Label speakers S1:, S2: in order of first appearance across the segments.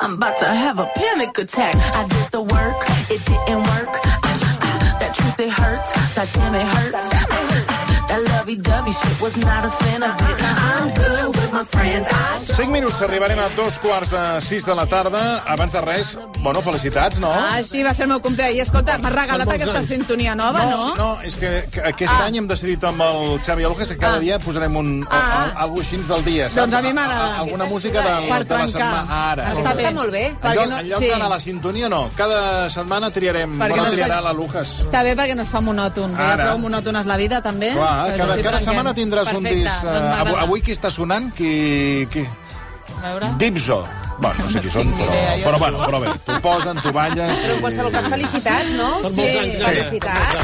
S1: I'm about to have a panic attack. I did the work, it didn't work. Ah, ah, that truth, it hurts. That damn, it hurts. Ah, That lovey dovey shit was not a fan of it. I'm good with my friends. I
S2: 5 minuts, arribarem a dos quarts de 6 de la tarda. Abans de res, bueno, felicitats, no?
S3: Ah, sí, va ser el meu compte. I escolta, m'has regalat aquesta sintonia nova, no?
S2: No, és que, que aquest
S3: Ah.
S2: any hem decidit amb el Xavi Alujas que cada
S3: Ah.
S2: dia posarem un, ah.
S3: Ah.
S2: algo així del dia, saps?
S3: Doncs a mi m'agrada.
S2: A- a- Alguna música de,
S3: Per
S2: de la
S3: trencar.
S2: setmana. Ara.
S3: Està bé.
S4: molt bé.
S2: En
S3: Perquè
S2: lloc,
S3: no-
S2: en lloc
S3: sí.
S2: d'anar a la sintonia, no. Cada setmana triarem...
S3: Perquè
S2: Perquè
S3: no
S2: no
S3: es
S2: triarà
S3: faci-
S2: l'Alujas.
S3: Està bé perquè no es fa monòton, que
S2: Ara.
S3: ja prou monòton és la vida, també.
S2: Clar,
S3: Doncs
S2: cada,
S3: així
S2: cada
S3: trenquem.
S2: setmana tindràs un
S4: Perfecte,
S2: disc.
S4: doncs
S2: eh, avui,
S4: m'agrada.
S2: avui qui està sonant? Qui... qui...
S4: A veure...
S2: Dipso. Bueno, no sé qui són, però, però, bueno, però bé, t'ho posen, t'ho balles...
S4: Però en qualsevol cas, felicitats, no?
S5: Per molts anys, Laura.
S4: Felicitats.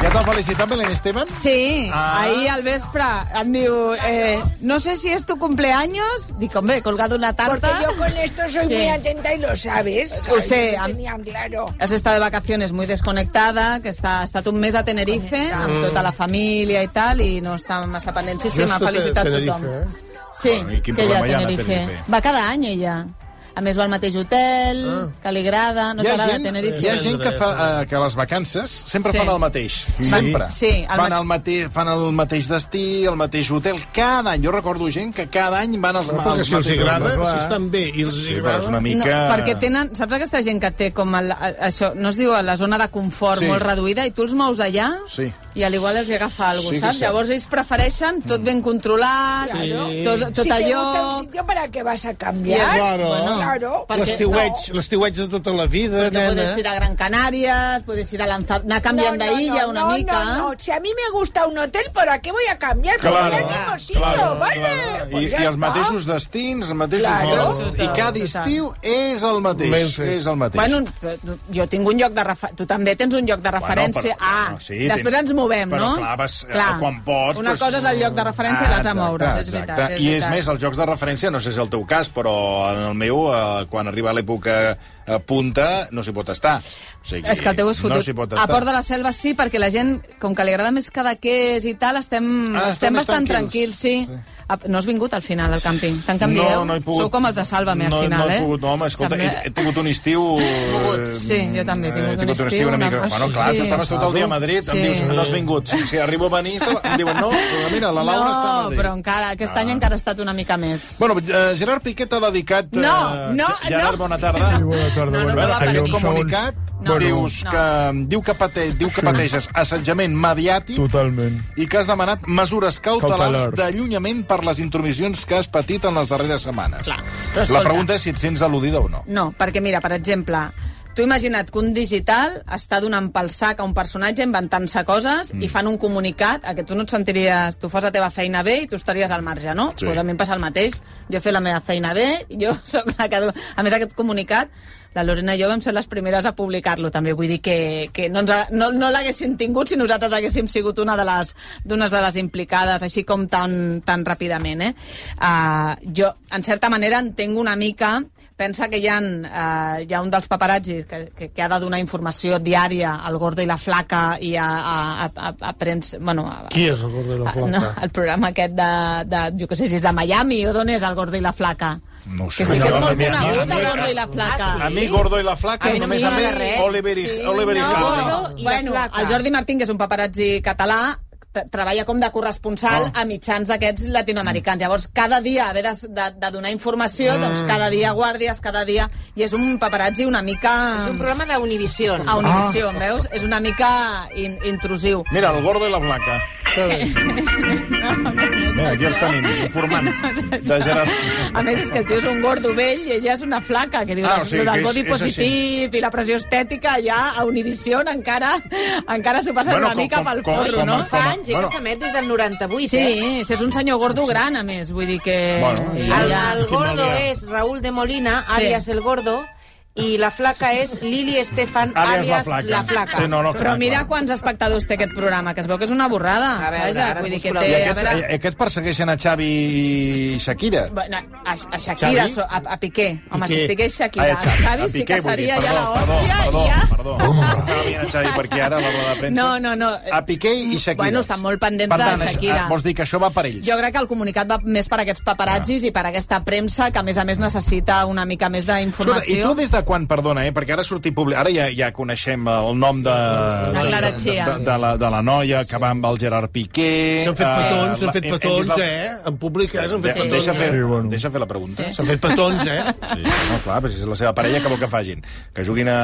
S2: Ja t'ha felicitat, Belén Esteban?
S3: Sí,
S2: Ah.
S3: ahir al vespre em diu, eh, no sé si es tu cumpleaños. Dic, hombre, he colgado una
S6: Porque
S3: tarta.
S6: yo con esto soy muy atenta y lo sabes.
S3: Lo sé,
S6: Yo
S3: a-
S6: tenía claro.
S3: Has estat de vacaciones muy desconectada, que està, ha estat un mes a Tenerife, amb tota la família i tal, i no està massa pendent. Sí, sí,
S5: Jo
S3: m'ha
S5: estic a
S3: felicitat
S5: Tenerife,
S3: tothom.
S5: eh?
S3: Sí,
S2: Bueno, i quin
S3: que
S2: problema
S3: ella
S2: hi ha
S3: a
S2: anar a
S3: Tenerife.
S2: Tenerife?
S3: Va cada any, ella. A més, va al mateix hotel, que li agrada, no
S2: Ah. hi, ha
S3: t'agrada
S2: gent,
S3: Tenerife.
S2: hi ha gent que, fa, eh, que a les vacances sempre
S3: Sí.
S2: fan el mateix. Sempre.
S3: Sí, el
S2: fan,
S3: ma-
S2: el mate fan el mateix destí, el mateix hotel, cada any. Jo recordo gent que cada any van als,
S5: Perquè
S2: als
S5: si els
S2: mateixos
S5: agrada,
S2: hotels.
S5: si estan bé i els
S2: Sí, però és
S5: agrada...
S2: una mica...
S3: No, perquè tenen... Saps aquesta gent que té com el, a- això, no es diu a la zona de confort
S2: Sí.
S3: sí. molt reduïda i tu els mous allà
S2: Sí.
S3: i a l'igual els hi agafa alguna
S2: Sí que
S3: cosa, saps?
S2: sí. Mm.
S3: Llavors ells prefereixen tot ben controlat,
S5: Sí.
S3: tot, tot
S6: si te
S3: allò...
S6: gusta un sitio, ¿para qué vas a
S3: Ja,
S6: cambiar?
S5: Claro.
S6: Claro.
S3: perquè-
S5: L'estiueig, l'estiueig de tota la vida,
S3: Perquè
S5: nena.
S3: puedes ir a Gran Canàries, puedes ir a Lanzar... anar canviant
S6: No, no,
S3: d'illa
S6: no,
S3: una
S6: no,
S3: mica. ¿eh?
S6: no, no. Si a mí me gusta un hotel, ¿para qué voy a cambiar? Porque
S2: Claro,
S6: voy al mismo sitio,
S2: claro,
S6: ¿vale?
S2: claro. I,
S6: Pues ya
S2: I els
S6: está.
S2: mateixos destins, els mateixos
S6: Claro.
S2: hotels, i
S3: Total,
S2: cada
S3: total.
S2: estiu és el
S5: Ben
S2: mateix.
S5: fet.
S2: És el mateix.
S3: Bueno, jo tinc un lloc de referència... Tu també tens un lloc de referència.
S2: però-
S3: ah,
S2: no, sí,
S3: després
S2: tens-
S3: ens movem,
S2: però,
S3: no?
S2: clar, vas- eh, quan pots,
S3: Una
S2: doncs-
S3: cosa és el lloc de referència i l'altra
S2: exacte,
S3: moure's, és
S2: exacte.
S3: veritat. És
S2: I és
S3: veritat.
S2: més, els jocs de referència, no sé si és el teu cas, però en el meu, eh, quan arriba l'època eh, punta, no s'hi pot estar. O sigui,
S3: És que el teu és fotut.
S2: No s'hi pot
S3: a
S2: estar.
S3: Port de la Selva sí, perquè la gent, com que li agrada més Cadaqués i tal, estem,
S2: Ah, estan
S3: estem
S2: més
S3: bastant
S2: tranquils.
S3: tranquils, sí. sí. A, no has vingut al final al càmping, tant que em
S2: no,
S3: dieu.
S2: no he pogut.
S3: Sou com els de Sàlvame,
S2: no,
S3: al final,
S2: no
S3: eh?
S2: he pogut, no, home, escolta,
S3: També-
S2: he, he tingut un estiu... eh,
S3: Sí, jo també he tingut un
S2: un
S3: estiu,
S2: estiu una
S3: una-
S2: mica... Bueno, clar,
S3: Sí.
S2: sí. estaves tot el dia a Madrid, sí.
S3: Sí.
S2: em dius, no has vingut. Si, si arribo a venir, estava- em diuen, no, però mira, la Laura
S3: no,
S2: està a Madrid. Ah.
S3: però encara, aquest any encara ha estat una mica més.
S2: Bueno, eh, Gerard Piquet ha dedicat... eh,
S3: No, no,
S2: Gerard,
S3: no.
S2: bona tarda.
S7: Sí, bona tarda,
S3: No, no,
S7: bona
S3: no
S2: Bueno,
S7: tarda.
S3: va per
S2: aquest
S3: aquí.
S2: comunicat
S3: No, no.
S2: dius,
S3: No.
S2: que, diu que, pate, diu que
S7: Sí.
S2: pateixes assetjament mediàtic
S7: Totalment.
S2: i que has demanat mesures cautelars
S7: Cautelars.
S2: d'allunyament per les intromissions que has patit en les darreres setmanes.
S3: però
S2: La
S3: escolta.
S2: pregunta és si et sents al·ludida o no.
S3: No, perquè mira, per exemple, tu imagina't que un digital està donant pel sac a un personatge inventant-se coses mm. i fan un comunicat a que tu no et sentiries... Tu fas la teva feina bé i tu estaries al marge, no?
S2: Sí.
S3: Doncs pues a mi em passa el mateix. Jo he fet la meva feina bé, jo sóc la que... A més, aquest comunicat, la Lorena i jo vam ser les primeres a publicar-lo, també. Vull dir que, que no, ens ha, no, no l'haguéssim tingut si nosaltres haguéssim sigut una de les, d'unes de les implicades, així com tan, tan ràpidament, eh? Uh, jo, en certa manera, entenc una mica pensa que hi ha, eh, hi ha un dels paparazzis que, que, que ha de donar informació diària al gordo i la flaca i a, a, a, a, a prens... Bueno, a,
S5: Qui és el gordo de la
S3: a, Ah, no,
S5: flaca?
S3: el programa aquest de, de, jo què sé, si és de Miami o d'on és el gordo i la flaca.
S2: No ho sé.
S3: Que sí que és
S2: No, a
S3: molt
S2: mi- a mi-
S3: conegut,
S2: a mi-
S3: el gordo i la flaca.
S2: A mi, Gordo i la Flaca,
S3: A mi no
S2: només a mi,
S3: m'agrada res.
S2: Oliver i, Oliver i
S4: no.
S2: Hardy.
S4: Gordo i la
S3: bueno,
S4: flaca.
S3: el Jordi Martín, que és un paparazzi català, t- treballa com de corresponsal a mitjans d'aquests latinoamericans. Llavors, cada dia haver de, de, de donar informació, doncs cada dia guàrdies, cada dia... I és un paparazzi una mica...
S4: És un programa d'Univision.
S3: A Univisió, ah. veus? És una mica in, intrusiu.
S2: Mira, el Gordo i la Blanca. Mira, aquí els tenim, informant de Gerard.
S3: A més, és que el tio és un gordo vell i ella és una flaca, que dius,
S2: Ah,
S3: ah,
S2: o sigui,
S3: del
S2: que és-
S3: body
S2: és així.
S3: positiu i la pressió estètica ja a Univision encara encara s'ho passen
S2: Bueno,
S3: una
S2: com-
S3: mica
S2: com-
S3: pel
S2: com-
S3: forro,
S2: com-
S3: no?
S4: Fa anys, ja
S2: Bueno.
S4: que s'emet des del 98,
S3: Sí,
S4: eh?
S3: si és un senyor gordo gran, a més, vull dir que...
S2: Bueno,
S3: ja,
S4: El,
S3: ja.
S4: el gordo és Raúl de Molina,
S3: Sí.
S4: àlies el gordo, i la flaca és Lili Estefan, àlies la flaca.
S2: Sí, no, no,
S3: Però
S2: clar,
S3: mira
S2: clar.
S3: quants espectadors té aquest programa, que es veu que és una borrada.
S4: A veure,
S3: Vaja,
S4: ara
S3: vull dir
S4: et
S3: que
S4: busco la-
S3: té...
S2: I
S4: eh,
S3: a
S2: aquests,
S3: veure...
S2: eh, aquests persegueixen a Xavi i Shakira.
S3: Bueno, a, a Shakira,
S5: Xavi?
S3: so- a, a Piqué. Home,
S5: Piqué. Ah,
S3: si estigués Shakira,
S2: Ai,
S3: a Xavi, sí que
S2: vull dir,
S3: seria ja
S2: perdó,
S3: l'hòstia.
S2: Perdó,
S3: i ja...
S2: perdó, perdó. havien de Xavi per aquí ara, a la roda de premsa.
S3: No, no, no.
S2: A Piqué i Shakira.
S3: Bueno, estan molt pendents
S2: per
S3: de
S2: tant,
S3: Shakira.
S2: Això, ah, vols dir que això va per ells?
S3: Jo crec que el comunicat va més per aquests paparazzis
S2: Ah.
S3: i per aquesta premsa que, a més a més, necessita una mica més
S2: Escolta, I tu
S3: d'informació.
S2: des de quan, perdona, eh? perquè ara surti public... Ara ja, ja coneixem el nom de,
S3: La
S2: de,
S3: Clara
S2: de,
S3: Chia.
S2: de, de, la, de la noia que va amb el Gerard Piqué...
S5: S'han fet
S2: eh,
S5: petons,
S2: la-
S5: s'han fet
S2: hem- hem
S5: petons,
S2: vist la-
S5: eh? En públic, eh? S'han
S2: De,
S5: fet petons.
S2: deixa, fer,
S5: eh?
S2: deixa fer la pregunta.
S3: Sí.
S5: S'han fet petons, eh?
S2: Sí, no, clar, però si és la seva parella, que vol que facin? Que juguin a...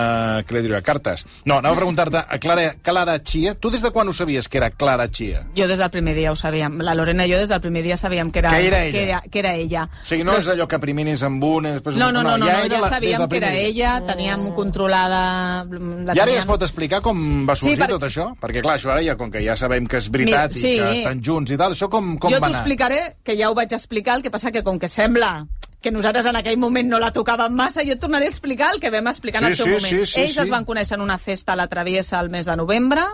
S2: Què li diré? A cartes? No, anava a preguntar-te a Clara, Clara Chia. Tu des de quan ho sabies que era Clara Chia?
S3: Jo des del primer dia ho sabíem. La Lorena i jo des del primer dia sabíem que era,
S2: Que era ella.
S3: Que era, que era ella.
S2: O sigui, no és allò que primer n'és amb un... i Després...
S3: No, no, no, no, ja, no, ja
S2: la- des
S3: sabíem
S2: del
S3: que era
S2: primer dia.
S3: ella, teníem controlada... La
S2: I ara ja es
S3: teníem-
S2: pot explicar com va
S3: Sí,
S2: sorgir
S3: per-
S2: tot això? Perquè, clar, això ara ja, com que ja sabem que és veritat
S3: Mira, sí.
S2: i que estan junts i tal, això com, com
S3: jo
S2: va
S3: t'ho
S2: anar?
S3: explicaré, que ja ho vaig explicar, el que passa que com que sembla que nosaltres en aquell moment no la tocàvem massa, jo et tornaré a explicar el que vam explicar en
S2: Sí,
S3: el seu
S2: sí,
S3: moment.
S2: sí, sí,
S3: Ells
S2: sí.
S3: es van conèixer en una festa a la Travessa el mes de novembre,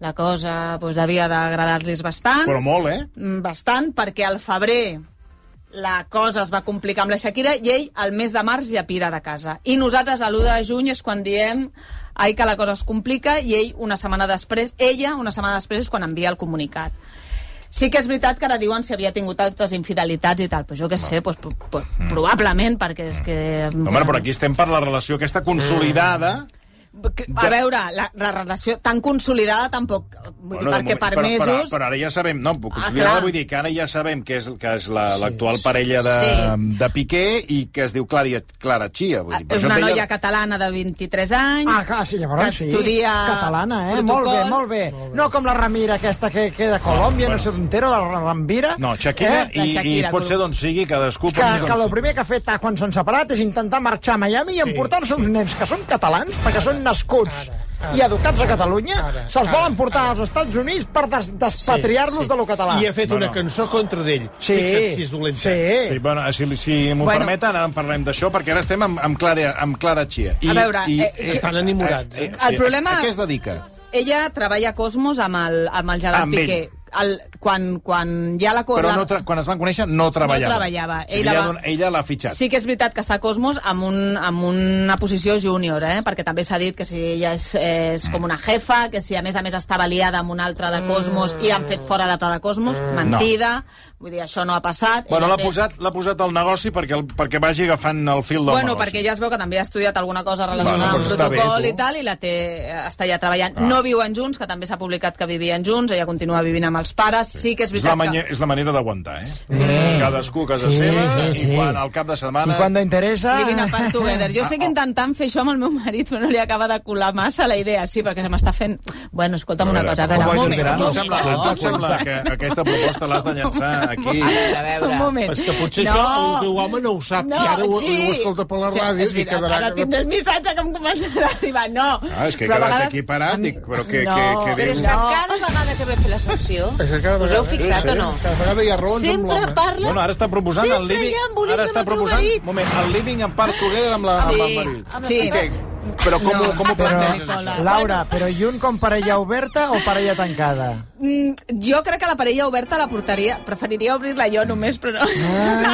S3: la cosa doncs, devia d'agradar-los bastant.
S2: Però molt, eh?
S3: Mm, bastant, perquè al febrer la cosa es va complicar amb la Shakira i ell al mes de març ja pira de casa. I nosaltres a l'1 de juny és quan diem ai, que la cosa es complica i ell una setmana després, ella una setmana després és quan envia el comunicat. Sí que és veritat que ara diuen si havia tingut altres infidelitats i tal, però jo què sé, doncs, pro- pro- probablement, perquè és que...
S2: Mm. Home, però aquí estem per la relació aquesta consolidada...
S3: A veure, la, la relació tan consolidada tampoc... Vull dir,
S2: de
S3: perquè
S2: moment-
S3: per
S2: però, però,
S3: mesos... Ah,
S2: però, ara ja sabem... No, consolidada
S3: clar.
S2: vull dir que ara ja sabem que és, que és la- l'actual la, parella de,
S3: Sí. Ah,
S2: de Piqué i que es diu Clara, Clara Chia. Vull dir. Per
S3: És
S2: això
S3: una
S2: em deia-
S3: noia catalana de 23 anys.
S7: Ah, clar, sí, llavors
S3: Que
S7: sí.
S3: estudia
S7: Catalana, eh?
S3: protocol.
S7: Molt bé, molt bé, No com la Ramira aquesta que, que de Colòmbia, no,
S2: bueno.
S7: sé d'on era, la Ra- Rambira.
S2: No, Shakira,
S7: Eh?
S2: i,
S3: La
S2: i
S3: Shakira,
S2: pot ser d'on sigui, cadascú...
S7: Que,
S2: pot-
S7: que el primer que ha fet ah, quan s'han separat és intentar marxar a Miami i emportar-se uns nens que són catalans perquè són nascuts i educats a Catalunya,
S5: ara,
S7: se'ls
S5: ara,
S7: volen portar als Estats Units per des despatriar-los de lo català.
S5: I ha fet
S2: No,
S5: una
S2: no.
S5: cançó contra d'ell.
S7: Sí,
S5: Fixa't si és dolent. eh?
S7: sí.
S2: Sí, bueno, si, si m'ho bueno.
S3: Bueno.
S2: permeten, ara en parlem d'això, perquè ara estem amb, amb, Clara, amb Clara Chia.
S3: A veure, eh,
S5: estan enamorats, eh?
S3: El problema-
S2: A què es dedica?
S3: Ella treballa a Cosmos amb el, amb el Gerard
S2: Amb ell.
S3: Piqué. El, quan, quan ja la...
S2: Però
S3: la
S2: no tra... quan es van conèixer no treballava.
S3: treballava.
S2: O sigui,
S3: Ella
S2: ella,
S3: va-
S2: don- ella l'ha fitxat.
S3: Sí que és veritat que està a Cosmos amb, un, amb una posició júnior, eh? perquè també s'ha dit que si ella és, és
S2: Mm.
S3: com una jefa, que si a més a més estava liada amb una altra de Cosmos i han fet fora d'altra de tota Cosmos, mentida, vull dir, això no ha passat.
S2: Mm. Bueno,
S3: Ella
S2: l'ha
S3: té-
S2: posat, l'ha posat al negoci perquè, el, perquè vagi agafant el fil del
S3: Bueno,
S2: negoci.
S3: perquè ja es veu que també ha estudiat alguna cosa relacionada
S2: Bueno,
S3: amb
S2: doncs està bé,
S3: protocol
S2: tu. Ah.
S3: i tal, i la té, eh, està ja treballant. No viuen junts, que també s'ha publicat que vivien junts, ella continua vivint amb els pares, sí, que Mm. és
S2: És la,
S3: veritat
S2: manye...
S3: que...
S2: és la manera d'aguantar, eh? Cadascú a casa
S7: Sí,
S2: seva
S7: sí, sí.
S2: i quan al cap de setmana...
S7: I quan interessa...
S3: Living apart together. Jo estic intentant fer això amb el meu marit, però no li acaba de colar massa la idea. Sí, perquè se m'està fent... Bueno, escolta'm una cosa, a veure, un
S7: com vaig
S3: moment,
S7: esperant,
S3: un
S2: Em
S3: moment.
S2: sembla,
S3: un
S2: em sembla
S3: moment.
S2: que aquesta proposta l'has de llançar aquí.
S6: A veure.
S3: Un moment.
S5: És que potser no. això el teu home no ho sap, no, i ara ho, sí. ho escolta per la ràdio
S3: és
S5: i
S3: veritat,
S5: quedarà...
S3: Ara tindré el missatge que em començarà a arribar. No,
S2: Ah, és que he
S3: Però a
S2: quedat
S3: vegades-
S2: aquí parat, dic, però què-
S3: no,
S2: què- què
S4: Però és
S2: dius?
S4: que cada vegada que ve a fer la secció,
S5: És que cada
S4: us heu
S5: vegada-
S4: fixat
S5: Sí,
S4: o no?
S5: sí, Cada vegada hi ha raons amb
S4: Sempre
S5: l'home.
S4: parles...
S2: Bueno, ara està proposant el
S4: Sempre
S2: living...
S4: hi ha embolics
S2: ara està
S4: amb el teu
S2: proposant,
S4: marit.
S2: moment, el living en part together amb la
S3: Sí,
S2: amb el marit.
S3: amb la Sí. senyora.
S2: Què? Però com, ho- com ho
S7: Però,
S2: planteges, això?
S7: Laura, però i un com parella oberta o parella tancada?
S3: Mm, jo crec que la parella oberta la portaria... Preferiria obrir-la jo només, però no.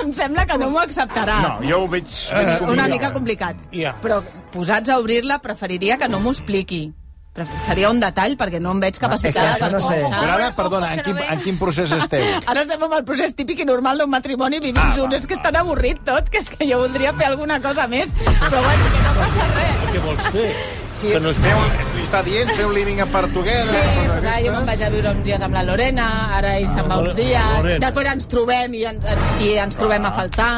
S3: em sembla que no m'ho acceptarà.
S2: No, jo ho veig... veig
S3: Eh, Una
S2: complicat.
S3: mica complicat.
S5: Ja.
S3: Però posats a obrir-la, preferiria que no m'ho expliqui. Pref- Seria un detall, perquè no em veig
S5: Ah,
S3: capacitada
S7: és que això
S3: per
S7: no sé.
S2: Però
S3: començar.
S2: ara, perdona, en quin, en quin procés esteu?
S3: Ara estem amb el procés típic i normal d'un matrimoni vivint
S2: Ah,
S3: ah,
S2: va,
S3: junts. és que
S2: va.
S3: és tan avorrit tot, que és que jo voldria fer alguna cosa més. Però bueno, que no passa res.
S5: Què vols fer?
S3: Sí.
S5: Que no es
S2: Feu,
S5: veu...
S2: li està dient, feu living en part
S3: Sí,
S2: together...
S3: pues ara jo me'n vaig a viure uns dies amb la Lorena, ara ell se'n va uns dies,
S5: Ah, Lorena. Ah.
S3: després ens trobem i, ens, i ens trobem a faltar.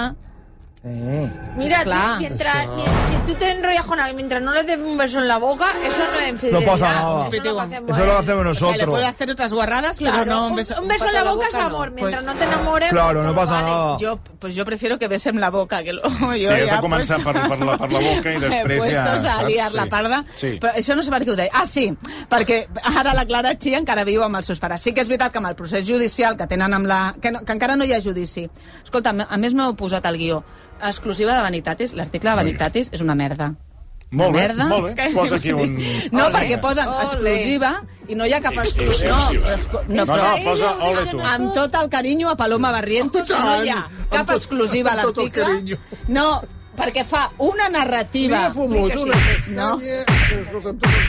S7: Eh.
S6: Mira, tú,
S3: Claro.
S6: mientras, mien- si tú te enrollas con alguien mientras no le des un beso en la boca, eso no es infidelidad.
S7: No pasa nada.
S6: Eso es lo que hacemos. ¿eh?
S7: Eso lo hacemos
S3: O sea, le
S7: nosotros.
S3: puede hacer otras guarradas, pero
S6: Claro,
S3: no
S6: un,
S3: un beso,
S6: un beso en la boca, es amor. Mientras no Pues te enamores...
S7: Claro,
S6: todo
S7: no pasa
S6: vale.
S2: Ah.
S7: nada.
S3: Yo, pues yo prefiero que besen la boca. Que lo, yo
S2: Sí, has de començar per, per, la, per la boca i després ja...
S3: Puestos a
S2: saps?
S3: liar la
S2: Sí.
S3: parda.
S2: Sí.
S3: Però això no sé per què ho deia. Ah, sí, perquè ara la Clara Chia encara viu amb els seus pares. Sí que és veritat que amb el procés judicial que tenen amb la... Que, no, que encara no hi ha judici. Escolta, a més m'heu posat el guió. Exclusiva de Vanitatis, l'article de Vanitatis és una merda.
S2: Molt bé,
S3: merda.
S2: molt bé. Posa aquí un... Eh,
S3: No, perquè posen exclusiva i no hi ha cap exclusiva. No, però esco-
S2: No, no,
S3: no, però
S2: posa ole tu.
S3: amb tot el carinyo a Paloma Barrientos
S5: Oh, i tant.
S3: no hi ha
S5: Amb
S3: cap
S5: tot-
S3: exclusiva a
S5: amb tot el
S3: l'article.
S5: carinyo.
S3: No, perquè fa una narrativa...
S5: Havia fumut una
S3: No.
S5: castanya...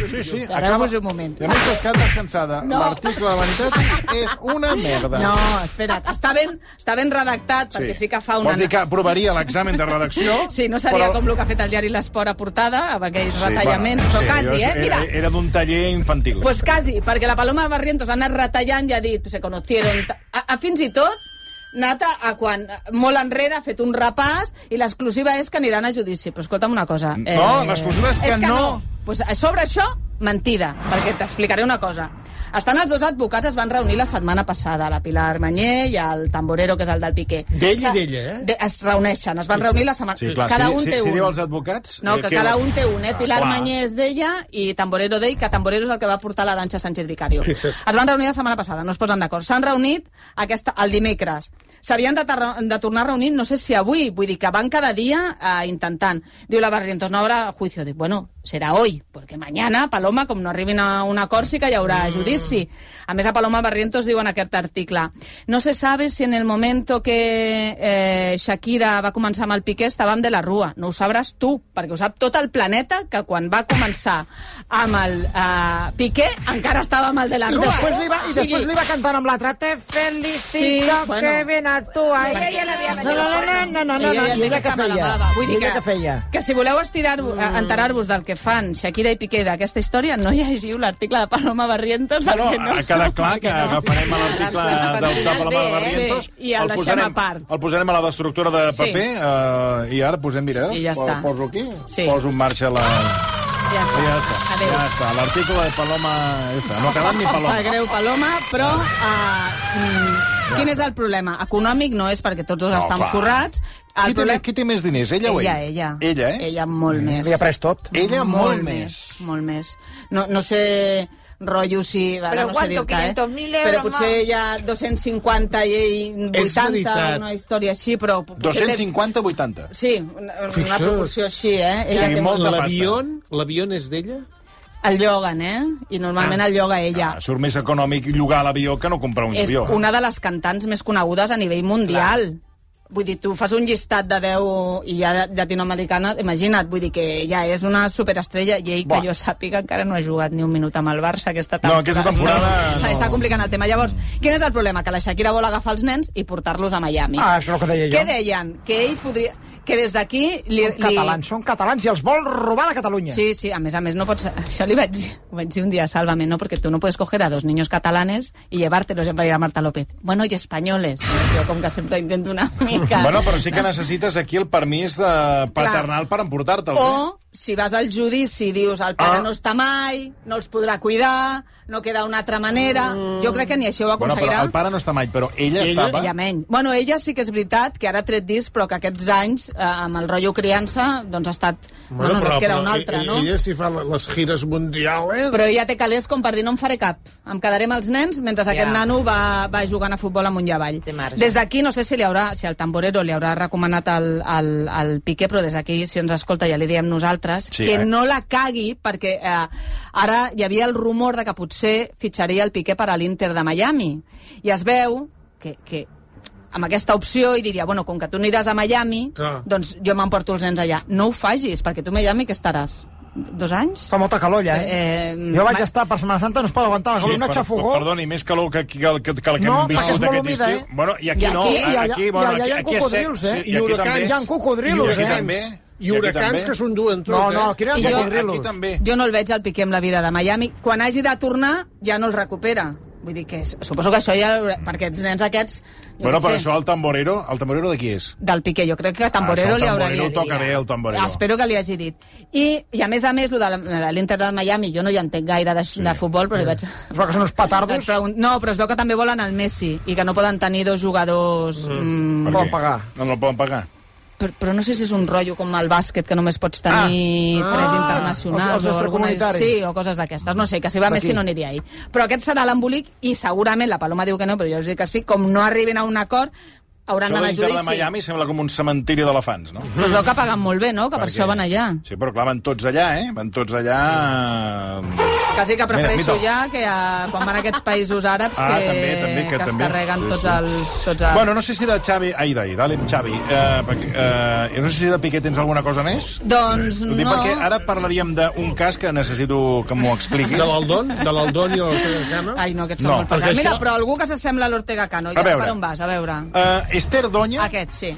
S2: Sí, sí,
S3: Ara
S2: acaba...
S3: vamos un moment.
S2: I a més que quedat descansada.
S3: No.
S2: L'article de Vanitat és una merda.
S3: No, espera't, està ben, està ben redactat, perquè sí que fa una...
S2: Vols dir que aprovaria l'examen de redacció?
S3: Sí, no seria
S2: però-
S3: com el que ha fet el diari L'Esport a portada, amb aquells
S2: Sí,
S3: retallaments,
S2: bueno,
S3: però
S2: sí,
S3: quasi,
S2: jo-
S3: eh? Mira,
S2: Era, era d'un taller infantil.
S3: Pues quasi, perquè la Paloma Barrientos ha anat retallant i ha dit, se conocieron... ta-". A, a, fins i tot, Nata, a quan molt enrere ha fet un repàs i l'exclusiva és que aniran a judici. Però escolta'm una cosa... eh,
S2: No, l'exclusiva és que
S3: que no.
S2: no.
S3: Pues a sobre això, mentida, perquè t'explicaré una cosa. Estan els dos advocats, es van reunir la setmana passada, la Pilar Manyer i el tamborero, que és el del Piqué.
S5: D'ell i
S3: Se-
S5: d'ella, eh?
S3: de, es reuneixen, es van reunir la setmana...
S2: Sí, clar,
S3: cada
S2: si,
S3: un
S2: si,
S3: té
S2: si
S3: un.
S2: diu als advocats...
S3: No,
S2: eh,
S3: que
S2: què
S3: cada
S2: vols?
S3: un té un, eh?
S2: Ah,
S3: Pilar
S2: clar.
S3: Mañé és d'ella i Tamborero d'ell, que Tamborero és el que va portar l'Aranxa Sánchez Vicario.
S5: Fixa't.
S3: Es van reunir la setmana passada, no es posen d'acord. S'han reunit aquesta, el dimecres. S'havien de, tar- de tornar a reunir, no sé si avui, vull dir que van cada dia eh, intentant. Diu la Barrientos, no haurà juicio. Dic, bueno, serà hoy, perquè mañana, Paloma, com no arribin a un acord, sí que hi haurà judici. A més, a Paloma Barrientos diu en aquest article no se sabe si en el momento que eh, Shakira va començar amb el Piqué estàvem de la rua. No ho sabràs tu, perquè ho sap tot el planeta que quan va començar amb el eh, Piqué encara estava amb el de la
S7: I
S3: rua.
S7: després li va,
S3: O
S7: i
S3: sigui,
S7: després li va cantant amb l'altra. Te
S3: Sí,
S7: felicito,
S3: bueno.
S7: que ben actuas.
S6: Ella ja l'havia
S7: No, no, no, no, no, no, no.
S3: ja
S7: I ella
S3: que
S7: què
S3: estava
S7: feia?
S3: elevada. Vull
S7: I
S3: dir
S7: ella què feia? Mm.
S3: Que si voleu estirar-vos- a- enterar-vos del que fan Shakira i Piqué d'aquesta història, no llegiu l'article de Paloma Barrientos,
S2: No,
S3: perquè
S2: ha quedat clar que agafarem l'article
S4: L'has
S2: del de
S4: patinat
S2: Paloma de
S4: bé, eh?
S2: Barrientos.
S3: Sí, i el deixem
S2: posarem-
S3: a part.
S2: El posarem a la destructora de
S3: Sí.
S2: paper eh, i ara posem, mira,
S3: I ja
S2: po-
S3: està.
S2: poso aquí,
S3: Sí.
S2: poso en marxa la... Oh,
S3: Ja està.
S2: Ja està,
S3: Adéu.
S2: ja està. L'article de Paloma... Ja està. No ha quedat ni
S3: Em
S2: Paloma.
S3: sap greu, Paloma, però... Uh, mm, quin és el problema? Econòmic no és, perquè tots dos
S2: No,
S3: estan
S2: clar.
S3: forrats.
S2: Qui
S3: El
S2: té, més-
S3: problema...
S2: qui té més diners, ella o ell?
S3: Ella, ella.
S2: Ella, eh?
S3: Ella molt més.
S7: Li ha pres tot.
S2: Ella molt, més.
S3: Molt més. No, no sé rotllo si... Ara
S6: Però
S3: no sé
S6: quanto,
S3: dir-te, eh?
S6: 500.000 euros
S3: Però potser
S6: más.
S3: hi ha 250 i ell
S5: És
S3: 80,
S5: veritat.
S3: una història així, però... potser té-
S2: 250-80.
S3: Sí, una, una
S5: Fixa't.
S3: proporció així, eh? Ella
S2: Sí,
S3: té
S2: molt
S3: molt...
S2: de pasta.
S5: L'avion, l'avion és d'ella?
S3: El lloguen, eh? I normalment el lloga ella.
S2: Ah, surt més econòmic llogar l'avió que no comprar un
S3: és
S2: avió.
S3: una de les cantants més conegudes a nivell mundial. Vull dir, tu fas un llistat de 10 i ja llatinoamericana, imagina't, vull dir que ja és una superestrella i ell,
S2: Buah.
S3: que jo sàpiga, encara no ha jugat ni un minut amb el Barça aquesta temporada.
S2: No, aquesta temporada
S3: Se li
S2: no.
S3: Està complicant el tema. Llavors, quin és el problema? Que la Shakira vol agafar els nens i portar-los a Miami.
S7: Ah, això és el que deia jo.
S3: Què deien? Que ell podria... Que des d'aquí... Li...
S7: Són catalans, són catalans i els vol robar de Catalunya.
S3: Sí, sí, a més a més no pots... Això li vaig dir, ho vaig dir un dia, sálvame, no, porque tú no puedes coger a dos niños catalanes y llevártelos, em va dir a Marta López. Bueno, y españoles. Jo com que sempre intento una mica...
S2: Bueno, però sí que necessites aquí el permís eh, paternal per emportar-te'l. eh?
S3: O, si vas al judici i dius el pare
S2: Ah.
S3: ah. no està mai, no els podrà cuidar, no queda una altra manera... Jo crec que ni això ho
S2: Mm. Bueno, però
S3: aconseguirà.
S2: el pare no està mai, però ella,
S5: Ella-
S2: estava...
S3: Ella menys. Bueno, ella sí que és veritat que ara ha tret disc, però que aquests anys, eh, amb el rotllo criança, doncs ha estat... Bueno, no, no, et queda un
S2: e-
S3: altre, no?
S5: Ella s'hi fa les gires mundials.
S3: Però ja té calés com per dir no en faré cap. Em quedaré amb els nens mentre ja. aquest nano va, va jugant a futbol amunt i avall.
S4: Té marge.
S3: Des d'aquí no sé si li haurà, si el tamborero li haurà recomanat el, el, el Piqué, però des d'aquí, si ens escolta, ja li diem nosaltres,
S2: Sí,
S3: que
S2: eh?
S3: no la cagui, perquè eh, ara hi havia el rumor de que potser fitxaria el Piqué per a l'Inter de Miami. I es veu que, que amb aquesta opció i diria, bueno, com que tu aniràs a Miami,
S5: Clar.
S3: doncs jo m'emporto els nens allà. No ho facis, perquè tu a Miami que estaràs? Dos anys?
S7: Fa molta calor, ja, eh?
S3: Eh,
S7: jo vaig
S3: ma-
S7: estar per Semana Santa, no es pot aguantar la calor, sí, una
S2: per-
S7: xafogó.
S2: Perdoni, més calor que, que, que, que la que
S7: No,
S2: hem
S7: perquè és
S2: viscut
S7: molt
S2: aquest
S7: humida,
S2: estiu.
S7: eh?
S2: Bueno, i aquí
S7: I
S2: no,
S7: aquí, i allà-
S2: aquí,
S7: i
S2: bueno,
S7: allà hi
S2: aquí,
S7: ha
S2: aquí és sec.
S7: cocodrils, eh?
S2: Sí,
S5: I
S2: aquí
S5: huracans.
S2: també.
S5: Hi ha
S7: cocodrilos,
S2: I aquí
S7: eh?
S2: també.
S5: I huracans
S2: aquí
S5: que
S2: també.
S5: s'enduen tot,
S7: No, no,
S5: eh?
S7: quina
S3: I
S2: I
S3: jo-
S2: aquí
S7: cocodrilos.
S2: també.
S3: Jo no el veig al Piqué amb la vida de Miami. Quan hagi de tornar, ja no el recupera. Vull dir que és- suposo que això ja... Per aquests nens aquests... jo
S2: Bueno,
S3: no
S2: per
S3: sé,
S2: això el tamborero, el tamborero de qui és?
S3: Del Piqué, jo crec que Tamborero
S2: Ah, això el
S3: li haurà
S2: Tamborero
S3: dit.
S2: ho toca bé, el Tamborero.
S3: Espero que li hagi dit. I, i a més a més, lo de la- de l'Inter de Miami, jo no hi entenc gaire de, de futbol, però li vaig...
S7: Es veu que són uns petardos.
S3: Vaig pregun- No, però es veu que també volen el Messi i que no poden tenir dos jugadors... Mm.
S2: Per
S7: Poden
S2: què?
S7: pagar.
S2: No, no el poden pagar.
S3: però, però no sé si és un rotllo com el bàsquet, que només pots tenir
S7: Ah.
S3: tres
S7: Ah.
S3: internacionals.
S7: Els- els
S3: o alguna-
S7: extracomunitaris.
S3: Sí, o coses d'aquestes. No sé, que si va
S7: D'aquí.
S3: Messi no aniria ahir. Però aquest serà l'embolic i segurament, la Paloma diu que no, però jo us dic que sí, com no arribin a un acord, hauran
S2: Això
S3: d'anar a
S2: l'Inter de
S3: judici.
S2: Miami sembla com un cementiri d'elefants, no?
S3: Però es veu que paguen molt bé, no? Que per
S2: Perquè-
S3: això van allà.
S2: Sí, però clar, van tots allà, eh? Van tots allà... eh,
S3: Quasi que prefereixo
S2: Mira, mira.
S3: ja que a, quan van a aquests països àrabs
S2: Ah,
S3: que,
S2: també, també, que
S3: es
S2: també.
S3: carreguen
S2: Sí,
S3: tots
S2: sí.
S3: els... Tots els...
S2: Bueno, no sé si de Xavi... Ai, d'ahir, d'Alem Xavi. Eh, perquè, eh, no sé si de Piqué tens alguna cosa més?
S3: doncs
S2: Ho dic
S3: no...
S2: perquè ara parlaríem d'un cas que necessito que m'ho expliquis.
S5: De l'Aldon? De l'Aldon i l'Ortega Cano?
S3: Ai, no, aquests són
S2: No,
S3: molt pesats.
S5: perquè
S3: Mira,
S5: això-
S3: però algú que s'assembla a l'Ortega Cano.
S2: A
S3: Ja,
S2: veure.
S3: per on vas? A veure.
S2: Eh, Esther Doña...
S3: Aquest, sí.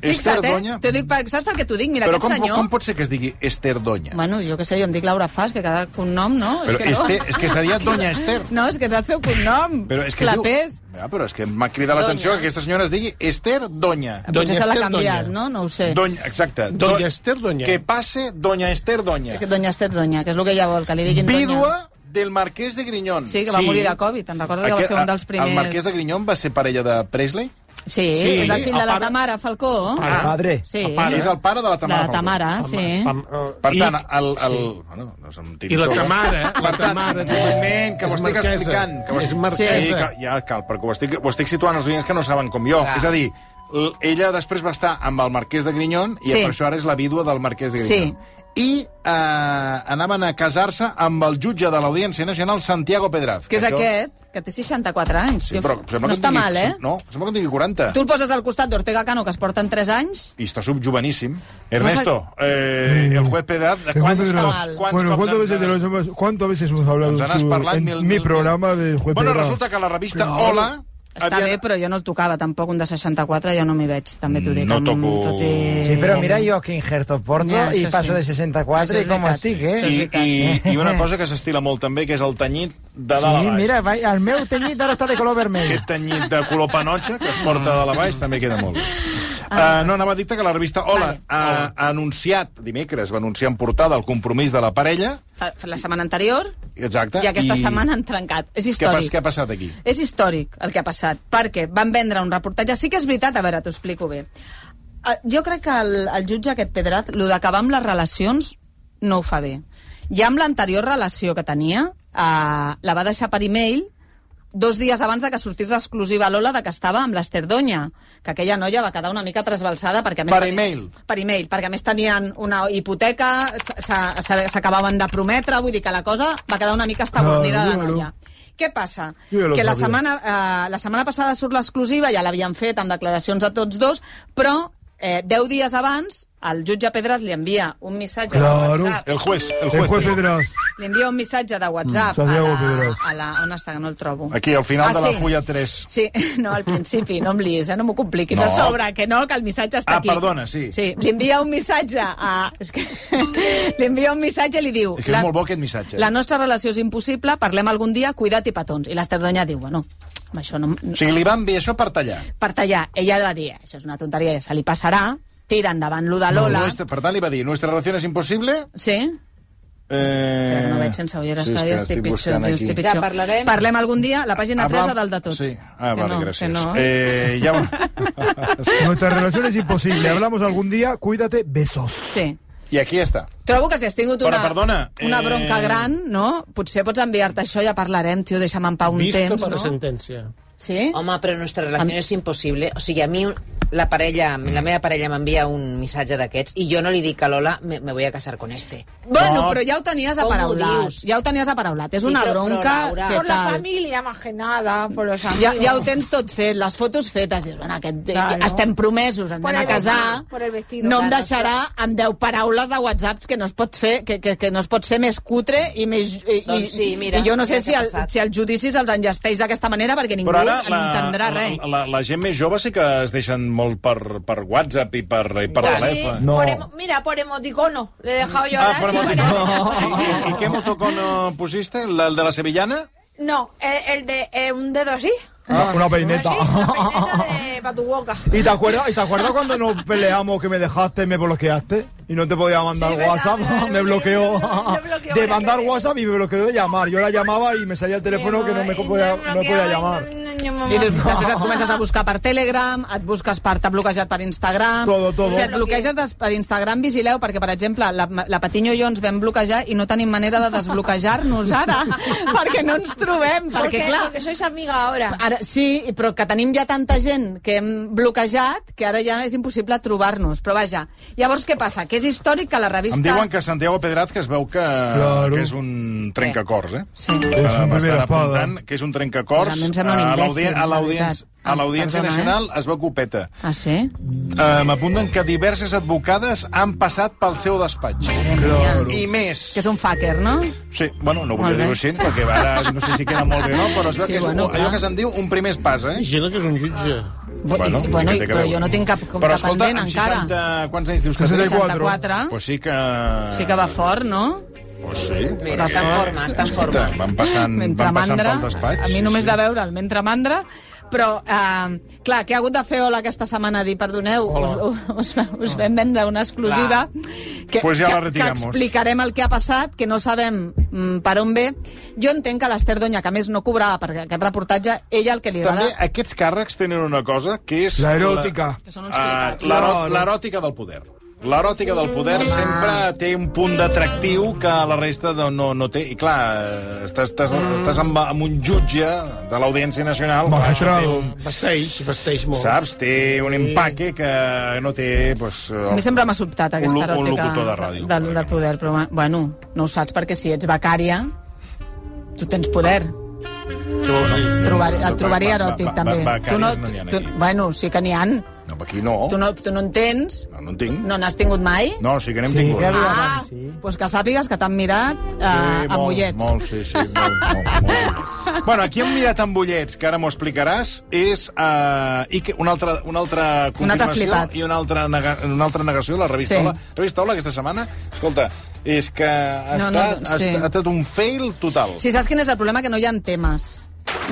S2: Esther
S3: Fixa't, eh?
S2: Doña.
S3: T'ho dic per, saps per què t'ho dic? Mira,
S2: Però
S3: aquest
S2: com,
S3: senyor...
S2: com pot ser que es digui Esther Doña?
S3: Bueno, jo què sé, jo em dic Laura Fas, que cada cognom, no?
S2: Però
S3: és que no.
S2: este, és que seria Doña Esther.
S3: No, és que és el seu cognom.
S2: Però és que
S3: Clapés.
S2: diu... Ja, però és que m'ha cridat l'atenció que aquesta senyora es digui Esther Doña.
S5: Doña
S3: Potser se l'ha
S5: Esther
S3: canviat,
S5: Doña.
S3: no? No ho sé.
S2: Doña, exacte.
S5: Doña
S2: Do-
S5: Esther Doña.
S2: Que pase Doña Esther Doña.
S3: Que Doña Esther Doña, que és el que ella vol, que li diguin Doña.
S2: Vídua del marquès de Grinyón.
S3: Sí, que va
S5: Sí.
S3: morir de Covid. Te'n recordes que va ser un dels primers...
S2: El marquès de Grinyón va ser parella de Presley?
S3: Sí,
S5: Sí,
S3: és el fill
S5: el
S3: de la
S5: pare-
S3: Tamara Falcó.
S7: Ah, padre.
S3: Sí,
S5: el pare.
S2: És el pare de la
S3: de
S2: Tamara.
S3: la Tamara, sí.
S5: Pam, eh,
S2: Per tant,
S5: i-
S2: el... el... Bueno, no se'm tiri
S5: I la
S2: sobre.
S5: Tamara, la
S2: Per tant,
S5: Tamara...
S2: un moment, que
S5: és
S2: ho estic
S5: marquesa.
S2: explicant. Que ho
S5: És
S2: estic-
S5: marquesa.
S2: Sí, que, ja cal, perquè ho estic, ho estic situant als oients que no saben com jo. És a dir, l- ella després va estar amb el marquès de Grinyón i
S3: Sí.
S2: per això ara és la vídua del marquès de Grinyón. Sí. I eh, anaven a casar-se amb el jutge de l'Audiència Nacional, Santiago Pedraz.
S3: Que és
S2: això-
S3: aquest, que té 64 anys.
S2: Sí,
S3: Jo-
S2: però sembla
S3: no
S2: que en
S3: està
S2: tingui,
S3: mal, eh?
S2: No, sembla que en tingui 40.
S3: Tu el poses al costat d'Ortega Cano, que es porten 3 anys.
S2: Y está subjuvenísimo. Ernesto, eh, el juez Pedaz, ¿cuántos,
S3: Pedraz.
S2: cops- cuántos
S8: Bueno,
S2: cops
S8: ¿cuántas
S2: ens
S8: veces, te lo
S2: has-
S8: hemos, ¿cuántas veces hemos hablado
S2: ens n'has
S8: tú
S2: parlat
S8: Doncs en
S2: mil-
S8: mi
S2: mil-
S8: programa del juez
S2: Bueno,
S8: Pedraz?
S2: resulta que la revista Hola...
S3: Està
S2: havia-
S3: bé, però jo no el tocava, tampoc un de 64, jo no m'hi veig, també t'ho dic.
S2: Mm, No
S3: amb
S2: toco-
S3: tot i-
S7: Sí, però mira jo que injerto porto
S3: Ja,
S7: ja,
S3: això
S7: i passo
S3: sí.
S7: de 64
S3: Això és
S7: i com
S3: veritat.
S7: estic, eh?
S2: I, i, I una cosa que s'estila molt també, que és el tenyit de dalt a
S7: Sí,
S2: baix.
S7: mira, vai, el meu tenyit ara està de color vermell.
S2: Aquest tenyit de color panotxa que es porta de la baix també queda molt bé. Uh, no, anava a dir que la revista Hola
S3: Ah. Vale.
S2: ha, ha anunciat, dimecres, va anunciar en portada el compromís de la parella,
S3: Fa- fa Eh, La setmana anterior
S2: exacte,
S3: i aquesta
S2: i
S3: setmana han trencat. És
S2: què, pas,
S3: històric.
S2: què ha passat aquí?
S3: És històric el que ha passat, perquè van vendre un reportatge... Sí que és veritat, a veure, t'ho explico bé. Eh, Jo crec que el, el jutge aquest Pedraz, lo d'acabar amb les relacions, no ho fa bé. Ja amb l'anterior relació que tenia, eh, la va deixar per e-mail dos dies abans de que sortís l'exclusiva a Lola de que estava amb l'Ester Doña, que aquella noia va quedar una mica trasbalsada perquè... A més
S2: Per
S3: tenia-
S2: e-mail.
S3: Per e-mail, perquè a més tenien una hipoteca, s- s- s- s'acabaven de prometre, vull dir que la cosa va quedar una mica estabornida de la
S8: Claro,
S3: noia. Què passa?
S8: Jo ja lo
S3: que la
S8: sabia.
S3: setmana, eh, la setmana passada surt l'exclusiva, ja l'havien fet amb declaracions de tots dos, però eh, deu dies abans el jutge Pedras li envia un missatge
S8: Claro.
S3: de WhatsApp.
S2: El juez, el
S8: El
S2: juez.
S8: juez Pedraz.
S3: Li envia un missatge de WhatsApp
S8: Mm,
S3: a,
S8: Santiago
S3: la,
S8: Pedraz.
S3: a la... On està? Que no el trobo.
S2: Aquí, al final
S3: Ah,
S2: de la
S3: sí.
S2: fulla 3.
S3: Sí, no, al principi, no em liis, eh? no m'ho compliquis.
S2: No.
S3: A sobre, que no, que el missatge està
S2: Ah,
S3: aquí.
S2: perdona, sí.
S3: Sí, li envia un missatge a... És que... li envia un missatge i li diu...
S2: És que és molt bo aquest missatge. eh?"
S3: La nostra relació és impossible, parlem algun dia, cuida't i petons. I l'Ester Doña diu, bueno, amb això no,
S2: O sigui, li van enviar això per tallar.
S3: per tallar. Ella va dir, això és una tonteria, ja se li passarà, tira endavant lo de
S2: No,
S3: Lola...
S2: nuestra- per tant, li va dir, nuestra relación es imposible...
S3: Sí?
S2: Eh...
S3: Espera, que no veig sense ulleres,
S2: és
S3: cada
S2: que
S3: dia estic pitjor,
S2: buscant
S3: tio,
S2: aquí.
S3: estic pitjor.
S4: Ja parlarem.
S3: Parlem algun dia, la pàgina 3
S2: Habla-
S3: a dalt de tot.
S2: Ah, Sí. Ah,
S3: Que
S2: vale,
S3: no,
S2: gràcies.
S3: Que no.
S2: Eh, ja...
S8: Nuestra relación es imposible. Hablamos algún día. Cuídate. Besos.
S3: Sí.
S2: I aquí està.
S3: Trobo que si has tingut
S2: Però,
S3: una,
S2: perdona,
S3: una
S2: eh,
S3: bronca gran, no? Potser pots enviar-te això, ja parlarem, tio, deixa'm en pau un
S5: Vista
S3: temps,
S5: per la
S3: no?
S5: sentència.
S3: Sí?
S9: Home, però nostra relació és impossible. O sigui, a mi un- la parella, la meva parella m'envia un missatge d'aquests i jo no li dic a Lola me, me voy a casar con este.
S3: Bueno, però ja ho tenies
S9: Com ho
S3: aparaulat.
S9: dius?
S3: Ja ho tenies aparaulat. És
S9: Sí,
S3: una
S9: però- però,
S3: bronca...
S9: Laura,
S3: que
S6: Por la
S3: tal.
S6: familia, más que nada, por los amigos.
S3: Ja, ja ho tens tot fet, les fotos fetes. Dius, bueno, aquest, eh,
S6: Claro.
S3: estem promesos, ens
S6: Por
S3: anem a
S6: el
S3: casar.
S6: vestido, por el vestido,
S3: no em
S6: claro,
S3: deixarà amb 10 paraules de whatsapps que no es pot fer, que, que, que no es pot ser més cutre i més... I,
S9: Doncs sí, mira,
S3: i jo no sé
S9: mira
S3: si,
S9: què ha
S3: el,
S9: passat.
S3: si els judicis els enllesteix d'aquesta manera perquè ningú
S2: Però ara
S3: en entendrà
S2: la,
S3: res.
S2: la, la, la gent més jove sí que es deixen molt per, per WhatsApp i per, i per
S6: Sí,
S2: telèfon.
S8: No.
S6: por emo- mira, por emoticono. Le he dejado
S2: pues. Ah,
S6: llorar.
S2: però
S6: y
S2: no.
S6: llorar.
S2: I, I què motocono pusiste? La- El de la sevillana?
S6: No, el, el de eh, un dedo así.
S7: Ah,
S8: Una- Una peineta.
S6: Así, la peineta de pa' tu boca.
S8: ¿Y te acuerdas, y te acuerdas cuando nos peleamos que me dejaste y me bloqueaste? y no te podía mandar
S6: Sí, verdad,
S8: WhatsApp.
S6: verdad,
S8: me
S6: lo
S8: bloqueó.
S6: bloqueó, lo bloqueó
S8: de
S6: varias
S8: mandar
S6: veces.
S8: WhatsApp y me bloqueó de llamar. Yo la llamaba y me salía el teléfono que no me podía, no podía llamar.
S3: I després et comences a buscar per Telegram, et busques per... T'ha bloquejat per Instagram...
S8: Todo, todo.
S3: Si et bloqueges des, per Instagram, vigileu, perquè, per exemple, la, la Patiño i jo ens vam bloquejar i no tenim manera de desbloquejar-nos ara, perquè no ens trobem, perquè,
S6: Porque,
S3: clar...
S6: porque sois amiga ahora.
S3: Ara, sí, però que tenim ja tanta gent que hem bloquejat que ara ja és impossible trobar-nos. Però vaja, llavors què passa? Que és històric que la revista...
S2: Em diuen que Santiago Pedraz que es veu que,
S8: Claro.
S2: que és un trencacors, eh?
S3: Sí.
S8: És una
S2: M'estan
S8: primera espada.
S2: apuntant que és un trencacors.
S3: Pues a mi em sembla un
S2: A l'audi-
S3: imbècil,
S2: a
S3: la
S2: l'audiència-
S3: veritat.
S2: A l'Audiència
S3: Perdona, eh?
S2: Nacional es veu copeta.
S3: Ah, sí?
S2: Eh, M'apunten que diverses advocades han passat pel seu despatx. I més.
S3: Ah, Que és un fucker, no?
S2: Sí, bueno, no volia
S3: Molt bé.
S2: dir-ho així, perquè ara no sé si queda molt bé o no, però es veu
S3: Sí,
S2: que és
S3: bueno,
S2: un, allò
S3: clar.
S2: que se'n diu un primer pas, eh?
S5: Imagina que és un jutge.
S3: Bueno, I, bueno
S2: què
S3: i,
S2: té que
S3: però
S2: veure?
S3: jo no tinc cap, cap
S2: Però escolta,
S3: pendent
S2: amb
S3: encara.
S2: 60... Quants anys dius que tens?
S8: 64.
S3: 64.
S2: Pues sí que...
S3: Sí que va fort, no?
S2: Pues sí.
S9: Mira, està en forma, està en forma.
S2: Escolta, Mm, van passant,
S3: Mentre
S2: van passant
S3: mandra,
S2: pel despatx.
S3: a mi
S2: sí,
S3: només
S2: sí.
S3: de veure'l, mentre mandra, però, eh, clar, que ha hagut de fer hola aquesta setmana a dir, perdoneu, us, us, us vam vendre una exclusiva que,
S2: Pues ja la
S3: que, que
S2: retiramos.
S3: explicarem el que ha passat, que no sabem mm, per on ve. Jo entenc que l'Ester Doña, que a més no cobrava per aquest reportatge, ella el que li
S2: També
S3: agrada...
S2: aquests càrrecs tenen una cosa que és...
S8: La eròtica.
S3: Que són uns
S2: Ah,
S3: flipats.
S2: l'erò- L'eròtica del poder. L'eròtica del poder sempre té un punt d'atractiu que la resta no, no, no té. I clar, eh, estàs, estàs,
S3: Mm.
S2: estàs amb, amb un jutge de l'Audiència Nacional... clar, això té
S8: Magistrado.
S2: un-
S5: Vesteix, vesteix molt.
S2: Saps? Té un empaque que no té... Pues,
S3: A mi sempre m'ha sobtat aquesta
S2: un lo- un
S3: eròtica
S2: locutor de ràdio,
S3: del,
S2: per
S3: del poder, però bueno, no ho saps perquè si ets becària tu tens poder.
S5: Tu, sí.
S3: Trobar, et trobaré
S2: va- va-
S3: eròtic,
S2: va-
S3: també.
S2: va- becàries
S3: Tu no,
S2: no n'hi ha
S3: tu,
S2: aquí.
S3: bueno, sí que n'hi ha.
S2: No, aquí no.
S3: Tu no, tu no en tens?
S2: No, no en tinc.
S3: No n'has tingut mai?
S2: No, sí que n'hem
S7: Sí,
S2: tingut.
S7: que-
S3: Ah,
S7: Sí.
S3: doncs que sàpigues que t'han mirat eh,
S2: Sí,
S3: amb ullets.
S2: Molt, sí, sí, molt, molt, molt. bueno, aquí hem mirat amb ullets, que ara m'ho explicaràs, és uh, i que, una, altra, una altra
S3: Un altre
S2: confirmació
S3: flipat.
S2: i una altra, nega, una altra negació de la revista
S3: Sí.
S2: Hola. Revista Hola, aquesta setmana, escolta, és que ha, no,
S3: No, no,
S2: estat, no,
S3: sí.
S2: sí. ha estat un fail total.
S3: Si saps quin és el problema? Que no hi ha temes.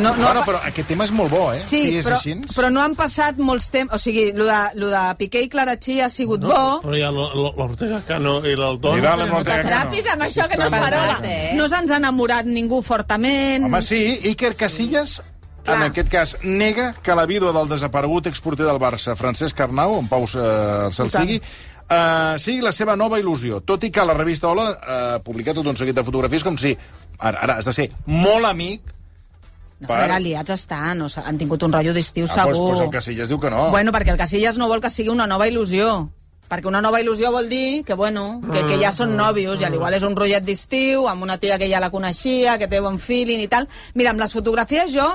S3: No, no,
S2: bueno, però aquest tema és molt bo, eh?
S3: Sí,
S2: si és
S3: però,
S2: així.
S3: però no han passat molts temps... O sigui, lo de, lo de Piqué i Clara Chi ha sigut no, bo.
S5: Però hi ha l'O- l'O- l'Ortega Cano i l'Aldón.
S2: Ni dale, no te
S3: T'atrapis amb això que no és
S9: bastant,
S3: parola.
S9: eh?
S3: No se'ns ha enamorat ningú fortament.
S2: Home, sí, Iker Casillas, en
S3: Clar.
S2: aquest cas, nega que la vídua del desaparegut exporter del Barça, Francesc Carnau, en Pau eh, se'l sigui, eh, sigui la seva nova il·lusió, tot i que la revista Hola eh, publica tot un seguit de fotografies com si... Ara, ara has de ser molt amic...
S3: No, a veure, liats estan. O sigui, han tingut un rotllo d'estiu
S2: Ah,
S3: segur.
S2: doncs, doncs el Casillas diu que no.
S3: Bueno, perquè el Casillas no vol que sigui una nova il·lusió. Perquè una nova il·lusió vol dir que, bueno, que, que ja són nòvios, i al igual és un rotllet d'estiu, amb una tia que ja la coneixia, que té bon feeling i tal. Mira, amb les fotografies jo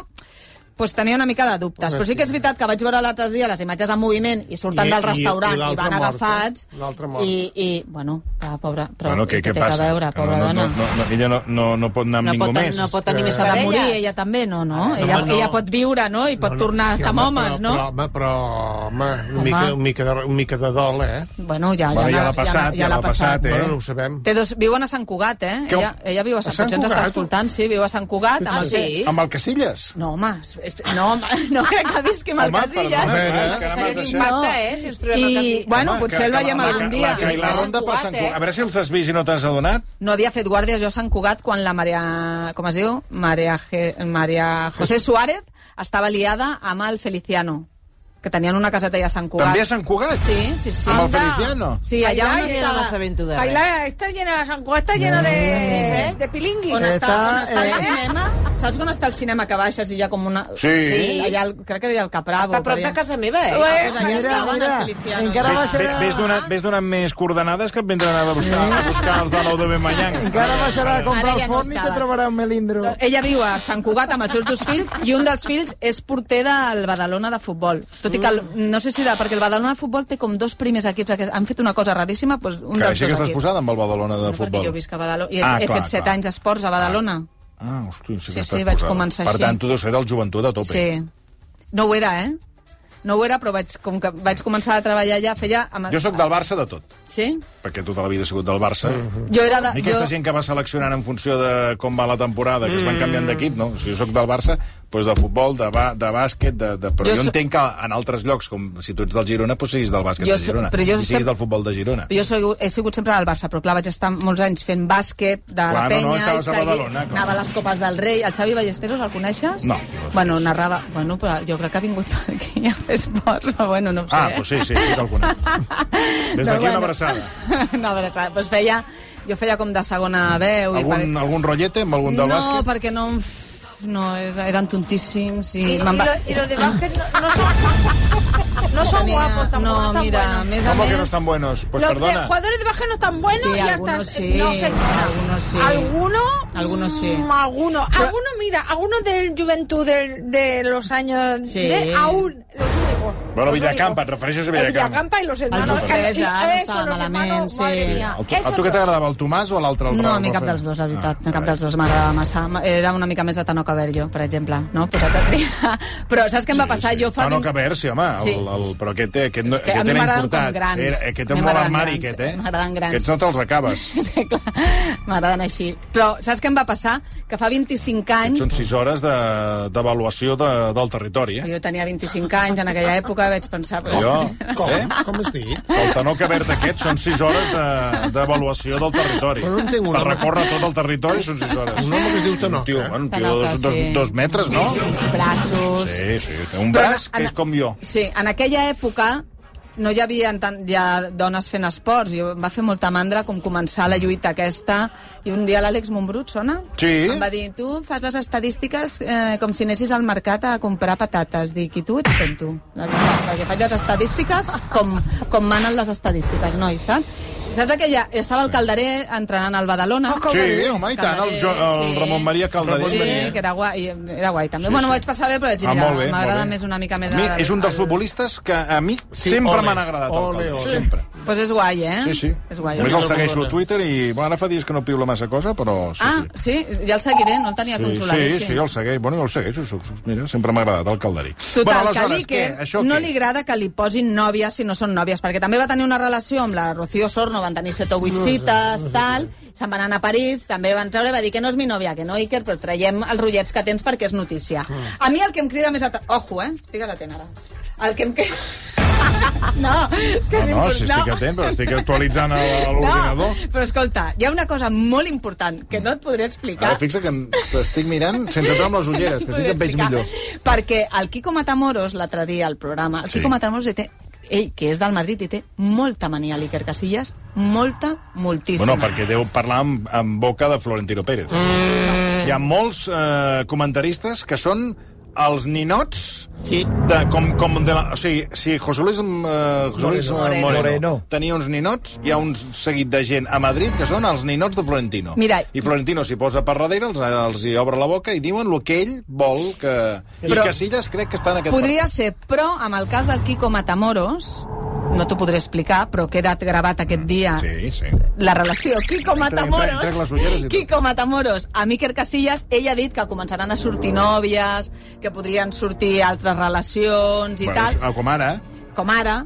S3: pues, tenia una mica de dubtes. Però sí que és veritat que vaig veure l'altre dia les imatges en moviment i surten
S5: I-
S3: del
S5: i-
S3: restaurant i,
S5: i l'altra
S3: van
S5: morta.
S3: agafats.
S5: L'altra morta.
S3: I, I, bueno, ah, pobra, però
S2: bueno,
S3: què, té que veure,
S2: Que
S3: pobra
S2: no,
S3: dona.
S2: no, no, no, ella no, no, no pot anar amb
S9: No
S2: ningú
S9: pot,
S2: més.
S9: no pot tenir més
S3: S'ha de morir,
S9: parelles.
S3: ella també, no, no? ella,
S5: home, no.
S3: ella pot viure, no? I pot tornar a estar amb
S5: home,
S3: homes,
S5: però,
S3: no?
S5: Però, home, però, home,
S3: Home.
S5: una mica, un mica, de, un mica de dol, eh?
S3: Bueno, ja,
S2: Bueno, ja
S3: n'ha-
S2: l'ha passat, ja l'ha passat,
S5: Eh?
S2: Eh?
S5: Bueno, no ho sabem.
S3: Té dos, viuen a Sant Cugat, eh?
S2: Que-
S3: Ella, ella viu a Sant,
S5: a Sant
S3: Potser ens està
S5: Cugat?
S3: escoltant, sí, viu a Sant Cugat. Amb el...
S9: Sí?
S2: Amb el Casillas?
S3: No, home, és- no, home, no crec que visqui amb el
S2: Home,
S3: Casillas.
S2: perdona,
S5: eh,
S2: que ara
S4: Seria
S2: m'has
S4: un
S2: deixat.
S4: impacte, eh, si ens trobem al
S3: I,
S4: Casillas.
S3: bueno,
S2: Home,
S3: Ah, potser el
S2: Ah, que-
S3: veiem
S2: que la-
S3: algun
S2: la-
S3: dia.
S2: La, la, la ronda per Sant Cugat. A veure si els has vist i no t'has adonat.
S3: No havia fet guàrdies jo a Sant Cugat quan la Maria... Com es diu? Maria, Ge- Maria José Suárez estava liada amb el Feliciano, que tenien una caseta allà a Sant Cugat.
S2: També a Sant Cugat?
S3: Sí, sí, sí.
S2: Amb el
S6: Anda.
S2: Feliciano?
S3: Sí, allà on
S6: Ai, ai,
S9: No
S3: estava...
S9: m'assabento
S6: ¿eh?
S9: de res.
S6: Cailá, está llena, San Juan está llena de, de pilingui.
S3: On està, on
S7: Està,
S3: està el
S7: eh,
S3: cinema? Saps on està el cinema que baixes i ja com una...
S2: Sí.
S3: Allà, al- crec que deia el Capravo.
S9: Està a prop
S3: per
S9: de
S3: allà.
S9: casa meva, eh?
S6: Bueno,
S3: Pues allà
S7: Mira,
S3: estaven
S7: mira,
S3: els Felicianos.
S7: encara
S2: Ves,
S7: baixarà-
S2: ve- ves, donant, ves donant més coordenades que et vindran a buscar, a buscar els de nou de Bemanyang.
S7: Encara baixarà a comprar
S3: Ara ja
S7: el
S3: no
S7: forn i te
S3: estava.
S7: trobarà un melindro.
S3: Ella viu a Sant Cugat amb els seus dos fills i un dels fills és porter del Badalona de futbol. Tot i que, el, no sé si era, perquè el Badalona de futbol té com dos primers equips que han fet una cosa raríssima, doncs un
S2: Que
S3: dels
S2: així que
S3: dos
S2: estàs
S3: equips.
S2: posada amb el Badalona de
S3: no,
S2: futbol.
S3: perquè jo visc a Badalona i he,
S2: Ah,
S3: he
S2: clar,
S3: fet set
S2: clar.
S3: anys esports a Badalona.
S2: Ah, hosti, sí,
S3: Sí,
S2: que estàs
S3: sí, vaig
S2: posada.
S3: començar
S2: Per
S3: així.
S2: tant, tu deus ser del joventut a tope.
S3: Sí. No ho era, eh? No ho era, però vaig, com que vaig començar a treballar allà, feia... Amb...
S2: Jo sóc del Barça de tot,
S3: Sí?
S2: perquè tota la vida he sigut del Barça.
S3: Jo era de...
S2: I
S3: Jo... Mm.
S2: aquesta gent que va seleccionant en funció de com va la temporada, que es van canviant d'equip, no? O sigui, jo sóc del Barça, doncs de futbol, de, ba, de bàsquet, de, de... però
S3: Jo
S2: jo, jo
S3: so-
S2: entenc que en altres llocs, com si tu ets del Girona, doncs siguis del bàsquet
S3: Jo
S2: de
S3: so-
S2: Girona,
S3: però jo
S2: i siguis
S3: sep-
S2: del futbol de Girona.
S3: Jo soy, he sigut sempre del Barça, però clar, vaig estar molts anys fent bàsquet de la
S2: Clar, no, no,
S3: penya...
S2: estaves a
S3: i seguir-
S2: Badalona, clar.
S3: Anava a les Copes del Rei. El Xavi Ballesteros, el coneixes?
S2: No, no el
S3: Bueno,
S2: coneixo.
S3: narrava... Bueno, però jo crec que ha vingut aquí a fer esports, però bueno, no ho sé.
S2: Ah, doncs sí, sí, sí que el conec. Des d'aquí una abraçada.
S3: una abraçada. Pues feia, jo feia com de segona veu.
S2: Algun,
S3: i
S2: algun rotllete amb algun
S3: per...
S2: del
S3: No,
S2: bàsquet?
S3: perquè no... em f- No, era- eren tontíssims i...
S6: Y, y
S3: me'n va-
S6: lo, y lo de básquet no, no son, no son
S3: Tenia-
S6: guapos tampoco.
S3: No,
S6: están
S3: mira, a
S6: buenos.
S3: més a
S2: ¿Cómo
S3: més...
S2: que no están buenos? Pues
S6: los de-
S2: perdona.
S6: jugadores de básquet no están buenos
S3: Sí,
S6: y hasta
S3: algunos
S6: eh,
S3: sí,
S6: no sé
S3: algunos sí.
S6: algunos
S3: Algunos sí.
S6: mm, algunos algunos mira algunos del Juventud del- de los años
S3: Sí.
S6: de aún los únicos
S2: Bueno,
S6: los
S2: Villacampa,
S6: únicos.
S2: et refereixes a
S6: El
S2: Villacampa.
S6: y los hermanos
S3: Jofresa,
S6: eh,
S3: no
S6: eso,
S3: estava
S6: los
S3: malament,
S6: hermanos,
S3: sí.
S6: madre mía.
S2: El tu, a
S6: Eso
S2: tu què
S6: no.
S2: t'agradava, el Tomàs o l'altre? el
S3: No, a
S2: Rafael?
S3: mi cap dels dos, la veritat.
S2: Ah,
S3: Ah, cap dels dos m'agradava massa. Era una mica més de Tano Caberjo, per exemple. No? Posats a triar. Però saps què em va passar? Jo fa...
S2: Ah, no,
S3: vint-
S2: que ver, sí, home.
S3: Sí.
S2: El, el, però aquest, eh, aquest, no,
S3: Que a
S2: aquest
S3: mi
S2: era
S3: m'agraden
S2: importat.
S3: com grans.
S2: Era, eh? aquest
S3: A mi
S2: és molt
S3: m'agraden
S2: armari,
S3: grans,
S2: aquest, eh?
S3: m'agraden grans.
S2: Aquests no te'ls acabes.
S3: És que, clar, m'agraden així. Però saps què em va passar? Que fa 25 anys...
S2: Són 6 hores de- d'avaluació de, del territori, eh?
S3: Jo tenia 25 anys, en aquella època vaig pensar... Pues,
S2: Allò,
S5: Com?
S2: eh?
S5: Com has dit?
S2: El tenor que verd aquest són 6 hores de- d'avaluació del territori.
S5: Però no entenc una-
S2: Per recórrer tot el territori són 6 hores.
S5: Un home que es diu Tanoca.
S2: Un tio, bueno, un tio de
S3: Tanoca,
S2: dos, dos,
S3: sí.
S2: dos metres, no?
S3: braços...
S2: Sí, sí. té Un
S3: Però
S2: braç
S3: en-
S2: que és com jo.
S3: Sí, en aquella època no hi havia tant, ja dones fent esports i em va fer molta mandra com començar la lluita aquesta i un dia l'Àlex Montbrut, sona?
S2: Sí.
S3: Em va dir, tu fas les estadístiques eh, com si anessis al mercat a comprar patates. Dic, i tu ets tonto. La veritat, perquè faig les estadístiques com, com manen les estadístiques, nois, saps? I Saps aquella... Estava el Calderer entrenant al Badalona.
S2: Oh, Sí, home, i tant, el, jo, el
S3: Sí.
S2: Ramon Maria Calderé.
S3: Sí, que era guai, era guai també. Sí, bueno, sí. vaig passar bé, però vaig dir,
S2: eh? Ah,
S3: mira,
S2: molt bé,
S3: m'agrada
S2: molt bé.
S3: més una mica més...
S2: A mi
S3: el-
S2: és un dels
S3: el-
S2: futbolistes que a mi
S5: Sí,
S2: sempre
S5: ole.
S2: m'han agradat. el
S5: Ole,
S2: Calderé,
S5: ole.
S2: Sempre.
S3: Pues és guai, eh?
S2: Sí, sí.
S3: És guai.
S2: Només el
S5: Ole,
S2: segueixo
S5: ole.
S2: a Twitter i bueno, ara fa dies que no piula massa cosa, però sí,
S3: Ah,
S2: sí.
S3: sí, ja el seguiré, no el tenia eh?
S2: Sí,
S3: controladíssim.
S2: sí, sí, el segueix. Bueno, jo el segueixo. Soc, mira, sempre m'ha agradat el calderí.
S3: Total,
S2: bueno,
S3: que
S2: aleshores,
S3: l'Iker
S2: què? Això
S3: no
S2: què?
S3: li agrada que li posin nòvies si no són nòvies, perquè també va tenir una relació amb la Rocío Sorno, van tenir set o vuit cites, tal, se'n van anar a París, també van treure, va dir que no és mi nòvia, que no, Iker, però traiem els rotllets que tens perquè és notícia.
S2: Ah.
S3: A mi el que em crida més... At... Ojo, eh? Estigues atent ara. El que em crida... No, és que és
S2: Ah, No, no, si
S3: important.
S2: estic atent, però estic actualitzant el- l'ordinador.
S3: No, però escolta, hi ha una cosa molt important que no et podré explicar.
S2: Ara fixa que em- t'estic mirant sense treure amb les ulleres, que sí que em veig
S3: Podré
S2: millor.
S3: explicar. Perquè el Quico Matamoros, l'altre dia al programa, el
S2: Sí.
S3: sí. Quico Matamoros li té ell, que és del Madrid, i té molta mania a l'Iker Casillas, molta, moltíssima.
S2: Bueno, perquè deu parlar amb, amb boca de Florentino Pérez. Hi ha molts eh, comentaristes que són els ninots
S5: Sí.
S2: de, com, com de la, o sigui, si José Luis, eh, José Luis Moreno,
S8: Moreno.
S2: Moreno
S8: Moreno.
S2: tenia uns ninots, hi ha un seguit de gent a Madrid que són els ninots de Florentino.
S3: Mira,
S2: I Florentino s'hi posa per darrere, els, els hi obre la boca i diuen el que ell vol que... Però, I Casillas crec que està en aquest
S3: Podria ser, però amb el cas del Quico Matamoros, no t'ho podré explicar, però ha quedat gravat aquest dia
S2: Sí, sí.
S3: la relació Quico
S2: entra- entra les
S3: Matamoros
S2: ulleres i tot.
S3: Quico Matamoros amb Iker Casillas ell ha dit que començaran a sortir nòvies que podrien sortir altres relacions i tal
S2: Bueno, com ara,
S3: com ara,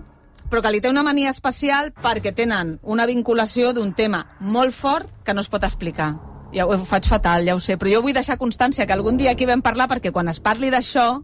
S3: però que li té una mania especial perquè tenen una vinculació d'un tema molt fort que no es pot explicar. Ja ho, ho faig fatal, ja ho sé, però jo vull deixar constància que algun dia aquí vam parlar perquè quan es parli d'això...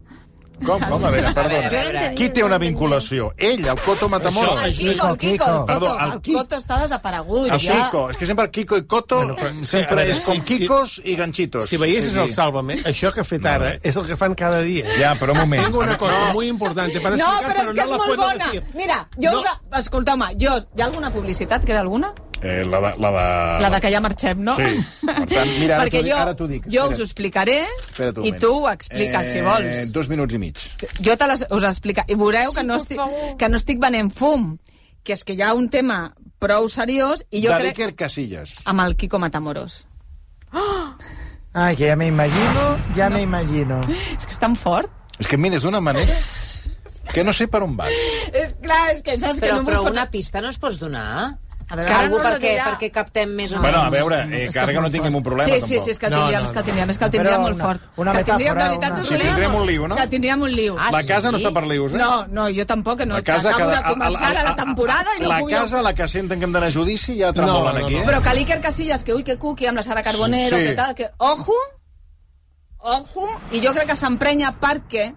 S2: Com, com? A veure,
S9: A veure, a
S2: perdona.
S9: veure.
S2: Qui té una vinculació? Ell, el Coto Matamoros.
S5: Això,
S3: Kiko, el Kiko, el Coto,
S2: Perdó, el
S3: el
S2: Qui-
S3: Coto està desaparegut.
S2: El
S3: ja.
S2: Kiko, és que sempre Kiko i Coto mm,
S5: Bueno, però, sí,
S2: sempre
S5: a veure,
S2: és com
S5: sí, sí.
S2: Kikos i ganxitos.
S5: Si veiessis el Sálvame, això que ha fet ara és el que fan cada dia.
S2: eh? Ja, però un moment.
S5: Tengo una cosa muy importante para
S3: No,
S5: explicar,
S3: però és que
S5: no
S3: és
S5: la
S3: molt
S5: puedo
S3: bona.
S5: decir.
S3: Mira, jo...
S5: No.
S3: No. Escolta-me, jo... Hi ha alguna publicitat? Queda alguna?
S2: Eh, la de... La de...
S3: La de que ja marxem, no?
S2: Sí. Per tant, mira, ara
S3: Perquè
S2: t'ho dic-
S3: jo,
S2: ara t'ho dic.
S3: Jo
S2: Espera't.
S3: us ho explicaré
S2: Espera't un
S3: i
S2: moment.
S3: tu ho expliques, si vols.
S2: Eh, dos minuts i mig.
S3: jo te les, us explica... I veureu que, no estic, que no estic venent fum, que és que hi ha un tema prou seriós i jo
S2: de
S3: crec...
S2: Iker Casillas.
S3: Amb el Quico Matamoros.
S7: Ai, que ja m'imagino, ja no. m'imagino.
S3: És que és tan fort.
S2: És que, mira, és d'una manera que no sé per on va.
S3: És clar, és que saps
S9: Però,
S3: que no
S9: però
S3: vull
S9: una pista no es pots donar?
S3: A veure,
S9: Que
S3: ara
S9: algú
S3: no
S9: no
S3: lo
S9: perquè,
S6: dirà.
S9: perquè captem més o menys.
S2: Bueno, a veure, eh, que ara que no tinguem un problema,
S3: sí, sí,
S2: tampoc.
S3: sí, és que el
S5: No,
S3: tindríem,
S5: no,
S3: és que el tindríem, és que el tindríem
S7: Però
S3: molt
S7: una-
S3: fort.
S7: una
S3: que el tindríem,
S7: metàfora,
S3: de veritat,
S7: una-
S3: us
S2: Sí,
S3: ho dic,
S2: tindríem un liu, no?
S3: Que tindríem un liu.
S9: Ah,
S2: la
S9: sí?
S2: casa no està per lius, eh?
S3: No, no, jo tampoc, que no. Acabo de
S2: cada-
S3: començar a, la temporada i no
S2: la
S3: puc...
S2: casa, la que senten que hem d'anar a judici, ja tremolen
S5: no, no.
S2: aquí. eh?
S3: Però que l'Iker Casillas, que ui, que cuqui, amb la Sara Carbonero,
S2: Sí.
S3: que tal, que... Ojo, ojo, i jo crec que s'emprenya perquè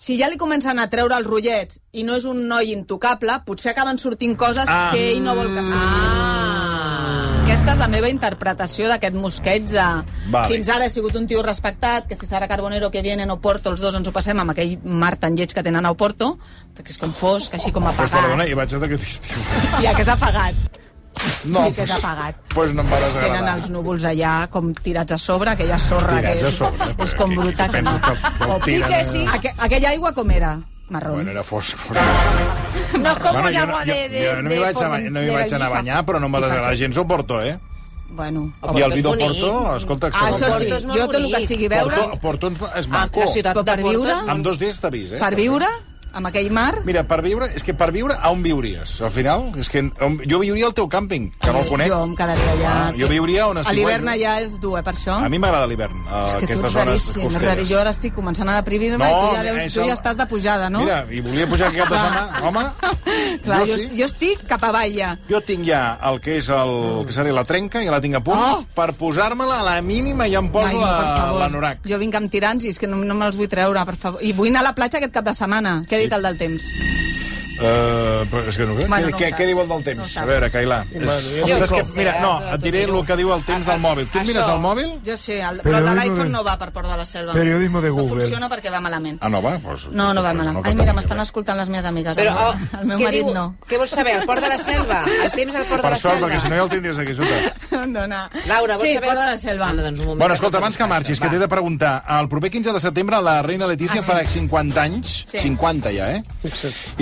S3: si ja li comencen a treure els rotllets i no és un noi intocable, potser acaben sortint coses
S2: Ah.
S3: que ell no vol que surtin. Aquesta és la meva interpretació d'aquest mosqueig de...
S2: Vale.
S3: Fins ara he sigut un tio respectat, que si Sara Carbonero que viene a Oporto, els dos ens ho passem amb aquell mar tan lleig que tenen a Oporto, perquè és com fosc, així com
S2: Pues
S3: apagat.
S2: perdona, hi vaig anar aquest estiu.
S3: Ja que és apagat.
S2: No,
S3: Sí que és apagat.
S2: pues no em va desagradar.
S3: Tenen els núvols allà com tirats a sobre, aquella sorra
S2: Tirats
S3: que
S2: a
S3: és,
S2: sobre,
S3: és
S2: però
S3: com
S2: qui-
S3: bruta.
S2: qui
S3: Que no.
S2: pensa que els- que els
S3: O
S2: tiren
S6: pique,
S2: a-
S6: sí.
S3: Aqu aquella aigua com era? Marró.
S2: Bueno, era fosc. fosc.
S6: No es como
S2: Bueno,
S6: el
S2: jo no,
S6: agua
S2: jo,
S6: de... de
S2: jo no m'hi
S6: de
S2: vaig, a,
S6: fon-
S2: ba- no m'hi
S6: de la
S2: vaig anar a
S6: Llifa.
S2: banyar, però no em va desagradar gens el Porto, eh?
S3: Bueno.
S2: I el
S9: és
S2: Vido
S9: bonic.
S2: Porto, escolta,
S3: Ah, això sí,
S9: Porto és molt
S3: jo tot el que
S9: bonic.
S3: sigui veure,
S2: Porto, Porto ens- és
S9: Ah,
S2: maco.
S9: la ciutat
S3: Però
S9: de
S3: per
S9: Porto és
S3: viure?
S2: Amb dos dies t'avís, eh?
S3: per viure, amb aquell mar...
S2: Mira, per viure, és que per viure, a on viuries? Al final, és que on, jo viuria al teu càmping, que no el conec.
S3: Jo em quedaria allà.
S2: Ah, jo viuria on
S3: A
S2: estic.
S3: l'hivern
S2: guai.
S3: allà és dur, eh, per això.
S2: A mi m'agrada l'hivern, a
S3: és que tu
S2: aquestes
S3: ets
S2: zones
S3: raríssim, és
S2: costeres.
S3: rari. Jo ara estic començant a deprimir-me
S2: No,
S3: i tu ja, deus,
S2: és
S3: tu
S2: el-
S3: ja estàs de pujada, no?
S2: Mira, i volia pujar aquest cap de setmana. Home,
S3: Clar, jo,
S2: jo, sí.
S3: jo estic cap avall ja.
S2: Jo tinc ja el que és el, que seria la trenca, ja la tinc a punt,
S3: Oh!
S2: per posar-me-la a la mínima i em poso
S3: Ai, no, per
S2: la-
S3: favor.
S2: l'anorac.
S3: Jo vinc amb tirants i és que no, no me'ls vull treure, per favor. I vull anar a la platja aquest cap de setmana. Què ha dit el del temps?
S2: Uh, però és que no, bueno, què,
S3: Bueno, no ho
S2: què,
S3: saps.
S2: què diu el del
S3: No ho
S2: temps?
S3: saps.
S2: a veure, Cailà.
S5: jo
S2: saps
S5: no
S2: que,
S5: sé,
S2: mira, no,
S9: ara
S2: et
S9: tot
S2: diré
S9: ho
S2: el
S9: diu.
S2: que diu el temps del mòbil. Tu et mires
S9: això.
S2: el mòbil?
S3: Jo sé, el, però
S8: Periodismo
S3: de
S8: de-
S3: l'iPhone no va per Port de la Selva.
S8: Periodismo de
S3: No
S8: Google.
S3: funciona perquè va malament.
S2: Ah, no va? Pues,
S3: No, no va
S2: pues
S3: malament.
S2: que
S3: Ai, mira,
S2: tenia
S3: m'estan
S2: res.
S3: escoltant les meves amigues.
S9: Però,
S3: el,
S9: oh,
S3: meu- el meu
S9: què
S3: marit
S9: diu-
S3: no.
S9: Què vols saber? El port de la selva? El temps al port de
S2: Per
S9: la
S2: sort,
S9: selva?
S2: perquè si no ja el tindries aquí sota.
S3: Dona.
S9: Laura, vols
S3: sí,
S9: saber?
S3: Port de la Selva.
S9: Anda, doncs un moment.
S2: Bueno, escolta, abans que marxis, que t'he de preguntar. El proper 15 de setembre la reina Letícia
S3: Ah, sí.
S2: farà 50 anys.
S3: Sí.
S2: 50 ja, eh?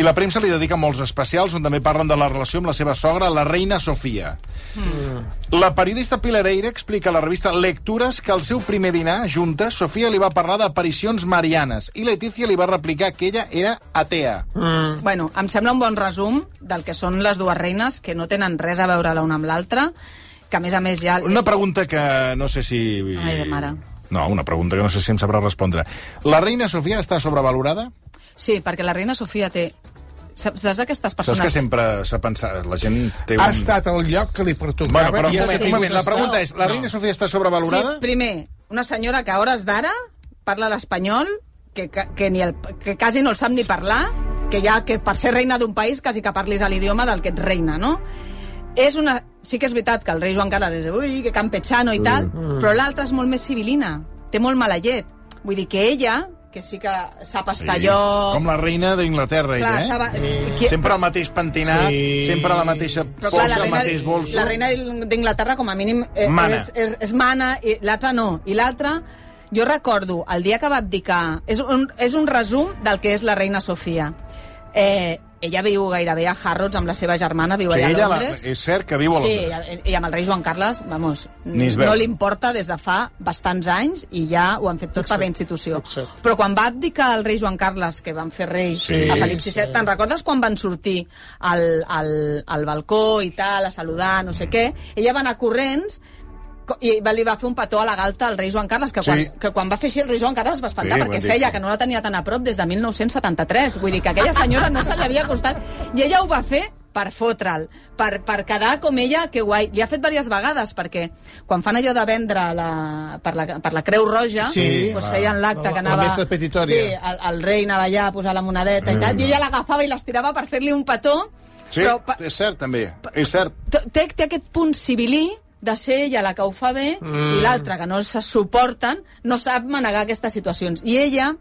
S2: I la premsa li dedica molts especials on també parlen de la relació amb la seva sogra, la reina Sofia.
S3: Mm.
S2: La periodista Pilar Eire explica a la revista Lectures que al seu primer dinar, juntes, Sofia li va parlar d'aparicions marianes i Letícia li va replicar que ella era atea.
S3: Bueno, em sembla un bon resum del que són les dues reines, que no tenen res a veure l'una amb l'altra, que a més a més ja...
S2: Una pregunta que no sé si...
S3: Ai, de mare.
S2: No, una pregunta que no sé si em sabrà respondre. La reina Sofia està sobrevalorada?
S3: Sí, perquè la reina Sofia té... Saps, saps d'aquestes
S2: Saps
S3: persones...
S2: que sempre s'ha pensat... La gent té un...
S5: Ha estat el lloc que li pertocava.
S2: Bueno, però
S5: i
S2: un
S5: ha
S2: moment, un
S5: tingut
S2: moment, la
S5: estar-
S2: pregunta és, la reina Sofia està sobrevalorada?
S3: Sí, primer, una senyora que a hores d'ara parla l'espanyol, que, que, que, ni el, que quasi no el sap ni parlar, que ja que per ser reina d'un país quasi que parlis a l'idioma del que ets reina, no? És una... Sí que és veritat que el rei Joan Carles és ui, que campechano i tal,
S2: Mm.
S3: però l'altra és molt més civilina, té molt mala llet. Vull dir que ella, que sí que sap estar allò...
S2: Com la reina d'Inglaterra, ella,
S3: Clar,
S2: eh?
S3: sap- qui-
S2: Sempre el mateix pentinat,
S5: Sí.
S2: sempre la mateixa
S3: Però
S2: polsa,
S3: clar, la
S2: el
S3: reina,
S2: mateix bolso.
S3: la reina d'In- d'Inglaterra, com a mínim, eh,
S2: Mana.
S3: és, és, és mana, i l'altra no. I l'altra, jo recordo, el dia que va abdicar... És un, és un resum del que és la reina Sofia. Eh, ella viu gairebé a Harrods amb la seva germana, viu
S2: O sigui,
S3: allà
S2: ella
S3: a
S2: la,
S3: Londres.
S2: és cert que viu a
S3: Sí,
S2: Londres.
S3: i- i amb el rei Joan Carles, vamos,
S2: Ni es veu.
S3: no li importa des de fa bastants anys i ja ho han fet tot per la institució.
S5: exacte.
S3: Però quan va abdicar el rei Joan Carles, que van fer rei
S2: Sí.
S3: a Felip VI, te'n recordes quan van sortir al, al, al balcó i tal, a saludar, no sé què? Ella va anar corrents co- i va, li va fer un petó a la galta al rei Joan Carles, que,
S2: Sí.
S3: quan, que quan va fer així el rei Joan Carles es va espantar,
S2: Sí, ho
S3: perquè
S2: han dit,
S3: feia
S2: sí.
S3: que no la tenia tan a prop des de 1973. Vull dir que aquella senyora no se li havia costat... I ella ho va fer per fotre'l, per, per quedar com ella, que guai. Li ha fet diverses vegades, perquè quan fan allò de vendre la, per, la, per la Creu Roja,
S5: Sí,
S3: doncs
S5: va.
S3: feien
S5: La-
S3: l'acte
S5: la
S3: que anava...
S5: messa petitoria.
S3: Sí, el, el rei anava allà a posar la monedeta i tal, i ella l'agafava i l'estirava per fer-li un petó,
S2: Sí,
S3: però pa-
S2: és cert, també. És cert.
S3: T- té, té aquest punt civilí de ser ella la que ho fa bé mm. i l'altra que no se suporten, no sap manegar aquestes situacions. I ella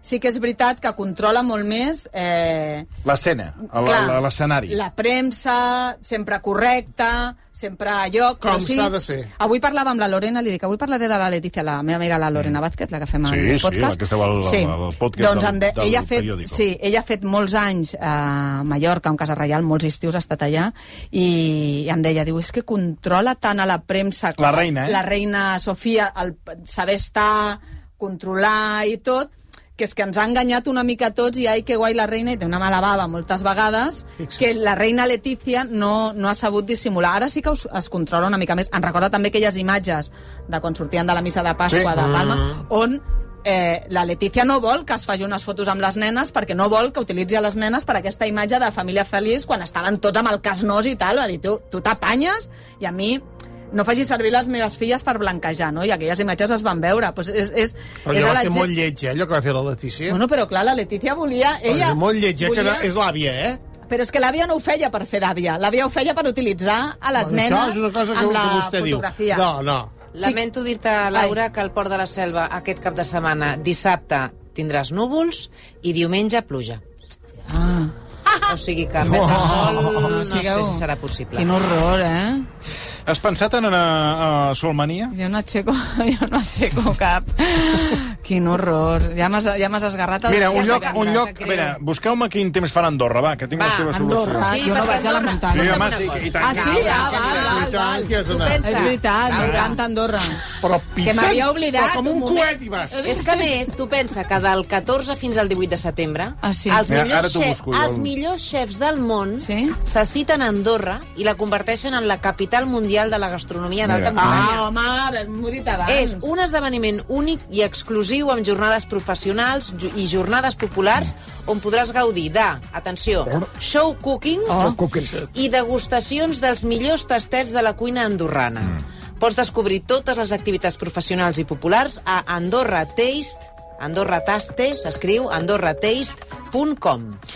S3: sí que és veritat que controla molt més... Eh,
S2: L'escena, a la-
S3: clar,
S2: a l'escenari.
S3: La premsa, sempre correcta, sempre a lloc...
S5: Com
S3: però sí,
S5: s'ha de ser.
S3: Avui parlava amb la Lorena, li dic, avui parlaré de la Letícia, la meva amiga la Lorena Vázquez, la que fem
S2: Mm. Sí,
S3: el
S2: sí, la
S3: podcast.
S2: que estava al- al- al podcast
S3: doncs,
S2: del-
S3: em de,
S2: del
S3: ella ha fet,
S2: periódico.
S3: Sí, ella ha fet molts anys a Mallorca, en Casa Reial, molts estius ha estat allà, i em deia, diu, és que controla tant a la premsa... com
S2: La
S3: a-
S2: reina, eh?
S3: La reina Sofia, el saber estar, controlar i tot, que és que ens ha enganyat una mica a tots i ai, que guai la reina, i té una mala bava moltes vegades, que la reina Letícia no, no ha sabut dissimular. Ara sí que us, es controla una mica més. En recorda també aquelles imatges de quan sortien de la missa de Pasqua
S2: Sí.
S3: de Palma,
S5: Mm.
S3: on eh, la Letícia no vol que es faci unes fotos amb les nenes perquè no vol que utilitzi a les nenes per aquesta imatge de família feliç quan estaven tots amb el cas nos i tal. Va dir, tu, tu t'apanyes i a mi no faci servir les meves filles per blanquejar, no? I aquelles imatges es van veure. Pues és, és,
S5: Però
S3: és
S5: allò
S3: a
S5: va
S3: la
S5: ser
S3: gent-
S5: molt lleig, eh, allò que va fer la Letícia.
S3: Bueno, però clar, la Letícia volia... Ella
S5: és molt lleig, eh, que
S3: volia...
S5: era, és l'àvia, eh?
S3: Però és que l'àvia no ho feia per fer d'àvia. L'àvia ho feia per utilitzar a les
S5: Bueno,
S3: nenes
S5: això és una cosa que,
S3: amb la
S5: que vostè
S3: fotografia.
S5: diu. No, no.
S9: Lamento dir-te, Laura, que al Port de la Selva aquest cap de setmana, dissabte, tindràs núvols i diumenge pluja. Ah. O sigui que no. sol Oh, no
S3: Oh.
S9: sé
S3: sigueu-
S9: si serà possible.
S3: Quin horror, eh?
S2: Has pensat en anar a Solmania?
S3: Jo no aixeco, jo no aixeco cap. Quin horror. Ja m'has ja m'has esgarrat. El...
S2: Mira, un
S9: Ja
S2: lloc,
S9: s'acaba,
S2: un lloc...
S9: sap greu.
S2: Mira, busqueu-me quin temps farà Andorra, va, que tinc
S9: Va,
S2: la teva solució.
S3: Andorra.
S9: Sí,
S3: jo no
S9: perquè
S3: vaig a la
S9: Andorra-
S3: muntanya.
S2: Sí,
S9: Escolta'm
S2: home,
S9: una
S2: sí,
S9: cosa.
S2: i
S3: Ah,
S2: tant.
S3: sí? Ah, val,
S5: I
S3: val,
S5: tant,
S3: val.
S5: que has anat.
S3: És veritat, m'encanta Andorra.
S5: Però pitant,
S3: m'havia oblidat
S5: però com
S3: un
S5: un
S3: moment.
S5: coet hi vas.
S9: És que, a més, tu pensa que del 14 fins al 18 de setembre
S3: Ah, sí?
S9: els,
S2: Mira, ara
S9: millors
S2: t'ho
S9: xefs,
S2: busco jo.
S9: els millors xefs del món
S3: Sí?
S9: se citen a Andorra i la converteixen en la capital mundial de la gastronomia
S2: Mira.
S9: d'alta muntanya.
S3: Ah, home, m'ho he dit abans.
S9: És un esdeveniment únic i exclusiu amb jornades professionals ju- i jornades populars on podràs gaudir de, atenció, show cookings
S7: Ah.
S3: Oh.
S9: i degustacions dels millors tastets de la cuina andorrana. Pots descobrir totes les activitats professionals i populars a Andorra Taste, Andorra Taste, s'escriu, andorrataste.com.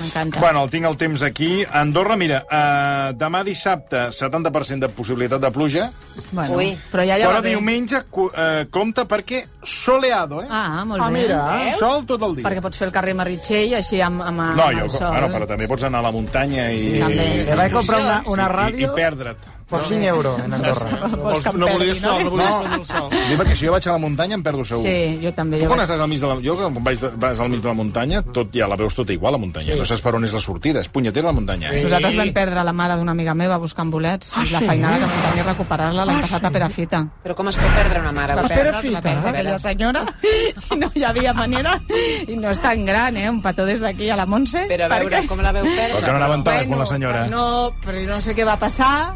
S3: M'encanta.
S2: Bueno, el tinc el temps aquí. Andorra, mira, eh, demà dissabte, 70% de possibilitat de pluja,
S3: Bueno,
S9: Ui.
S3: però ja ja
S2: però
S3: va bé.
S2: diumenge cu- eh, compta perquè soleado, eh?
S3: Ah, molt
S7: Ah,
S3: bé.
S7: mira.
S2: Sol tot el dia.
S3: Perquè pots fer el carrer Meritxell així amb, amb, amb
S2: No,
S3: el
S2: jo,
S3: sol.
S2: bueno, però també pots anar a la muntanya i...
S3: També.
S7: Que vaig comprar una, una
S2: I, i
S7: ràdio
S2: perdre't.
S7: per 5 euros en Andorra.
S5: No, vols, no volies sol, no volies prendre el sol.
S2: Jo, perquè si jo vaig a la muntanya em perdo segur.
S3: Ah. Sí, jo també.
S2: Tu
S3: Jo
S2: quan
S3: vaig...
S2: estàs al mig de la... Jo, quan vaig, de- vas al mig de la muntanya, tot ja la veus tota igual, la muntanya. No saps per on és la sortida. És punyetera la muntanya. Eh?
S3: Nosaltres vam perdre la mare d'una amiga meva buscant bolets i
S2: Ah,
S3: la feinada que vam tenir recuperar-la l'any passat a Perafita.
S9: Però com es pot perdre una mare?
S3: Va
S9: avui?
S3: perdre's,
S7: Perafita,
S3: va perdre
S7: eh?
S3: aquella senyora i no hi havia manera i no és tan gran, eh? Un petó des d'aquí a la Montse.
S9: Però a veure, com la veu
S2: Però
S9: perdre?
S2: que no anava en telèfon, la senyora. eh?
S3: No, però no sé què va passar.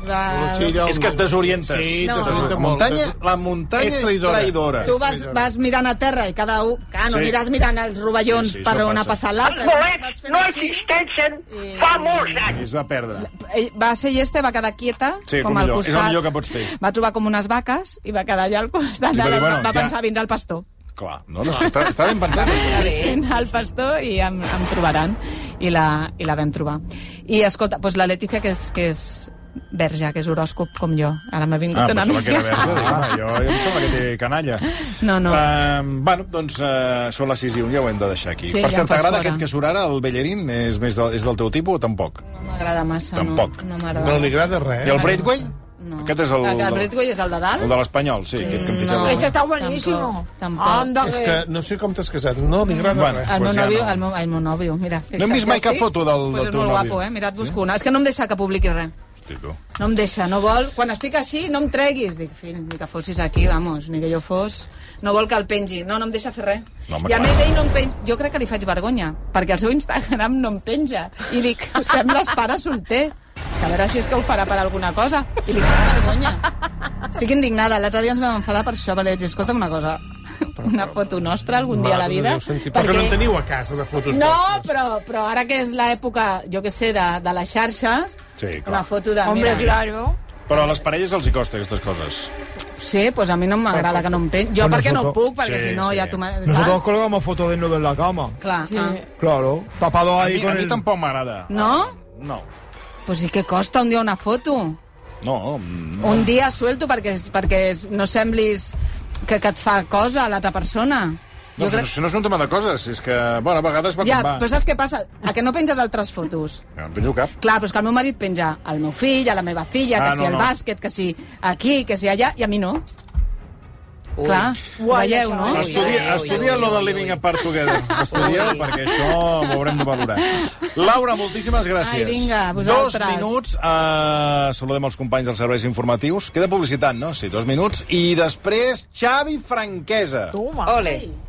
S3: Va...
S5: allò-
S2: És que et desorientes.
S5: Sí,
S3: No.
S5: desorienta
S2: La
S5: molt.
S2: muntanya, la muntanya és
S5: És
S2: traïdora.
S5: traïdora.
S3: Tu vas, vas mirant a terra i cada un... Ah, no
S2: Sí.
S3: mires mirant els rovellons
S2: Sí, sí,
S3: per
S2: això
S3: on ha
S2: passa.
S3: passat l'altre.
S10: bolets no
S3: així.
S10: existeixen fa molts anys.
S2: Es va perdre.
S3: Ell va ser llesta, va quedar quieta,
S2: Sí,
S3: com
S2: el
S3: al
S2: millor.
S3: costat.
S2: És el millor que pots fer.
S3: Va trobar com unes vaques i va quedar allà al costat.
S2: Sí,
S3: de
S2: va dir,
S3: la-
S2: bueno,
S3: va
S2: ja.
S3: pensar, vindrà el pastor.
S2: Clar, no, no, és que està, està ben pensat. això.
S3: Vindrà el pastor i em, em trobaran. I la, I la vam trobar. I escolta, doncs la Letícia, que és, que és verge, que és horòscop com jo. Ara m'ha vingut
S2: Ah,
S3: una
S2: pensava que era
S3: mica.
S2: verge. Home, jo, jo em sembla que té canalla.
S3: No, no.
S2: Uh, bueno, doncs uh, són les 6 i 1, ja ho hem de deixar aquí.
S3: Sí,
S2: per
S3: ja em
S2: cert,
S3: fas
S2: t'agrada
S3: fora.
S2: aquest que surt ara, el Bellerín? És, més del, és del teu tipus o tampoc?
S3: No m'agrada massa.
S2: Tampoc.
S3: No, no
S5: No
S3: m'agrada.
S5: li agrada res.
S2: I el Braithwaite?
S3: No.
S2: Aquest és el...
S3: El, el
S2: del-
S3: Bradway és el de dalt?
S2: El de l'Espanyol, sí, aquest que hem fitxat.
S6: Esto está buenísimo.
S3: Tampoc, tampoc.
S6: Anda,
S5: És
S6: que-
S5: que no sé com t'has casat, no li agrada
S2: Bueno.
S5: bueno. res.
S3: Ah, El meu
S2: Pues ja
S3: nòvio,
S2: no.
S3: el meu, el meu nòvio, mira.
S2: No hem vist mai cap foto del-
S3: pues
S2: del
S3: és
S2: teu
S3: molt
S2: nòvio.
S3: guapo, eh? Mira, et busco una. És que no em deixa que publiqui res.
S2: Hosti, tu.
S3: No em deixa, no vol... Quan estic així, no em treguis. Dic, fill, ni que fossis aquí, vamos, ni que jo fos... No vol que el pengi. No, no em deixa fer res.
S2: No, home,
S3: I a
S2: clar.
S3: més, ell no em penja. Jo crec que li faig vergonya, perquè el seu Instagram no em penja. I dic, sembles pare solter. Que a veure si és que ho farà per alguna cosa. I li faig vergonya. Estic indignada. L'altre dia ens vam enfadar per això, perquè vaig dir, escolta'm una cosa, una foto nostra algun dia a la
S5: Mare de
S3: vida.
S5: Déu, sentit. Però que no en teniu a casa de fotos
S3: No,
S5: vostres.
S3: però, però ara que és l'època, jo que sé, de, de les xarxes,
S2: Sí, clar.
S3: una foto de... mira,
S6: Hombre, claro.
S2: Però a les parelles els hi costa aquestes coses.
S3: sí, doncs pues a mi no m'agrada que no em pen... Jo
S8: Bueno,
S3: perquè no
S8: nosotros-
S3: puc, perquè
S2: sí,
S3: si no
S2: sí.
S3: ja tu... m'ha-
S8: Nosotros
S3: Saps?
S8: colgamos fotos de nudo en la cama.
S3: Clar, sí. ah.
S8: Claro, tapado
S2: A
S8: ahí
S2: mi,
S8: con
S2: a mi
S8: el...
S2: tampoc m'agrada.
S3: No?
S2: No.
S3: Pues sí que costa un dia una foto.
S2: No, mm,
S3: Un dia suelto perquè, perquè no semblis que, que et fa cosa a l'altra persona.
S2: no, crec... no, és un tema de coses, és que, bueno, a vegades va
S3: Ja,
S2: com va.
S3: però saps què passa? A que no penges altres fotos?
S2: Ja, no penso cap.
S3: Clar, però és que el meu marit penja al meu fill, a la meva filla,
S2: Ah,
S3: que si
S2: no,
S3: al
S2: no.
S3: bàsquet, que si aquí, que si allà, i a mi no. Ui. Clar, ho
S6: Guai,
S3: veieu, no?
S6: xaval.
S9: Ui,
S2: Estudia,
S9: ui, ui,
S2: estudia
S9: ui,
S2: lo de
S9: ui,
S2: Living
S9: ui.
S2: Apart Together. Estudieu,
S9: Ui.
S2: perquè això ho haurem de valorar. Laura, moltíssimes gràcies.
S3: Ai, vinga,
S2: dos
S3: vosaltres.
S2: minuts. Eh, saludem els companys dels serveis informatius. Queda publicitat, no? Sí, dos minuts. I després, Xavi Franquesa.
S9: Ole.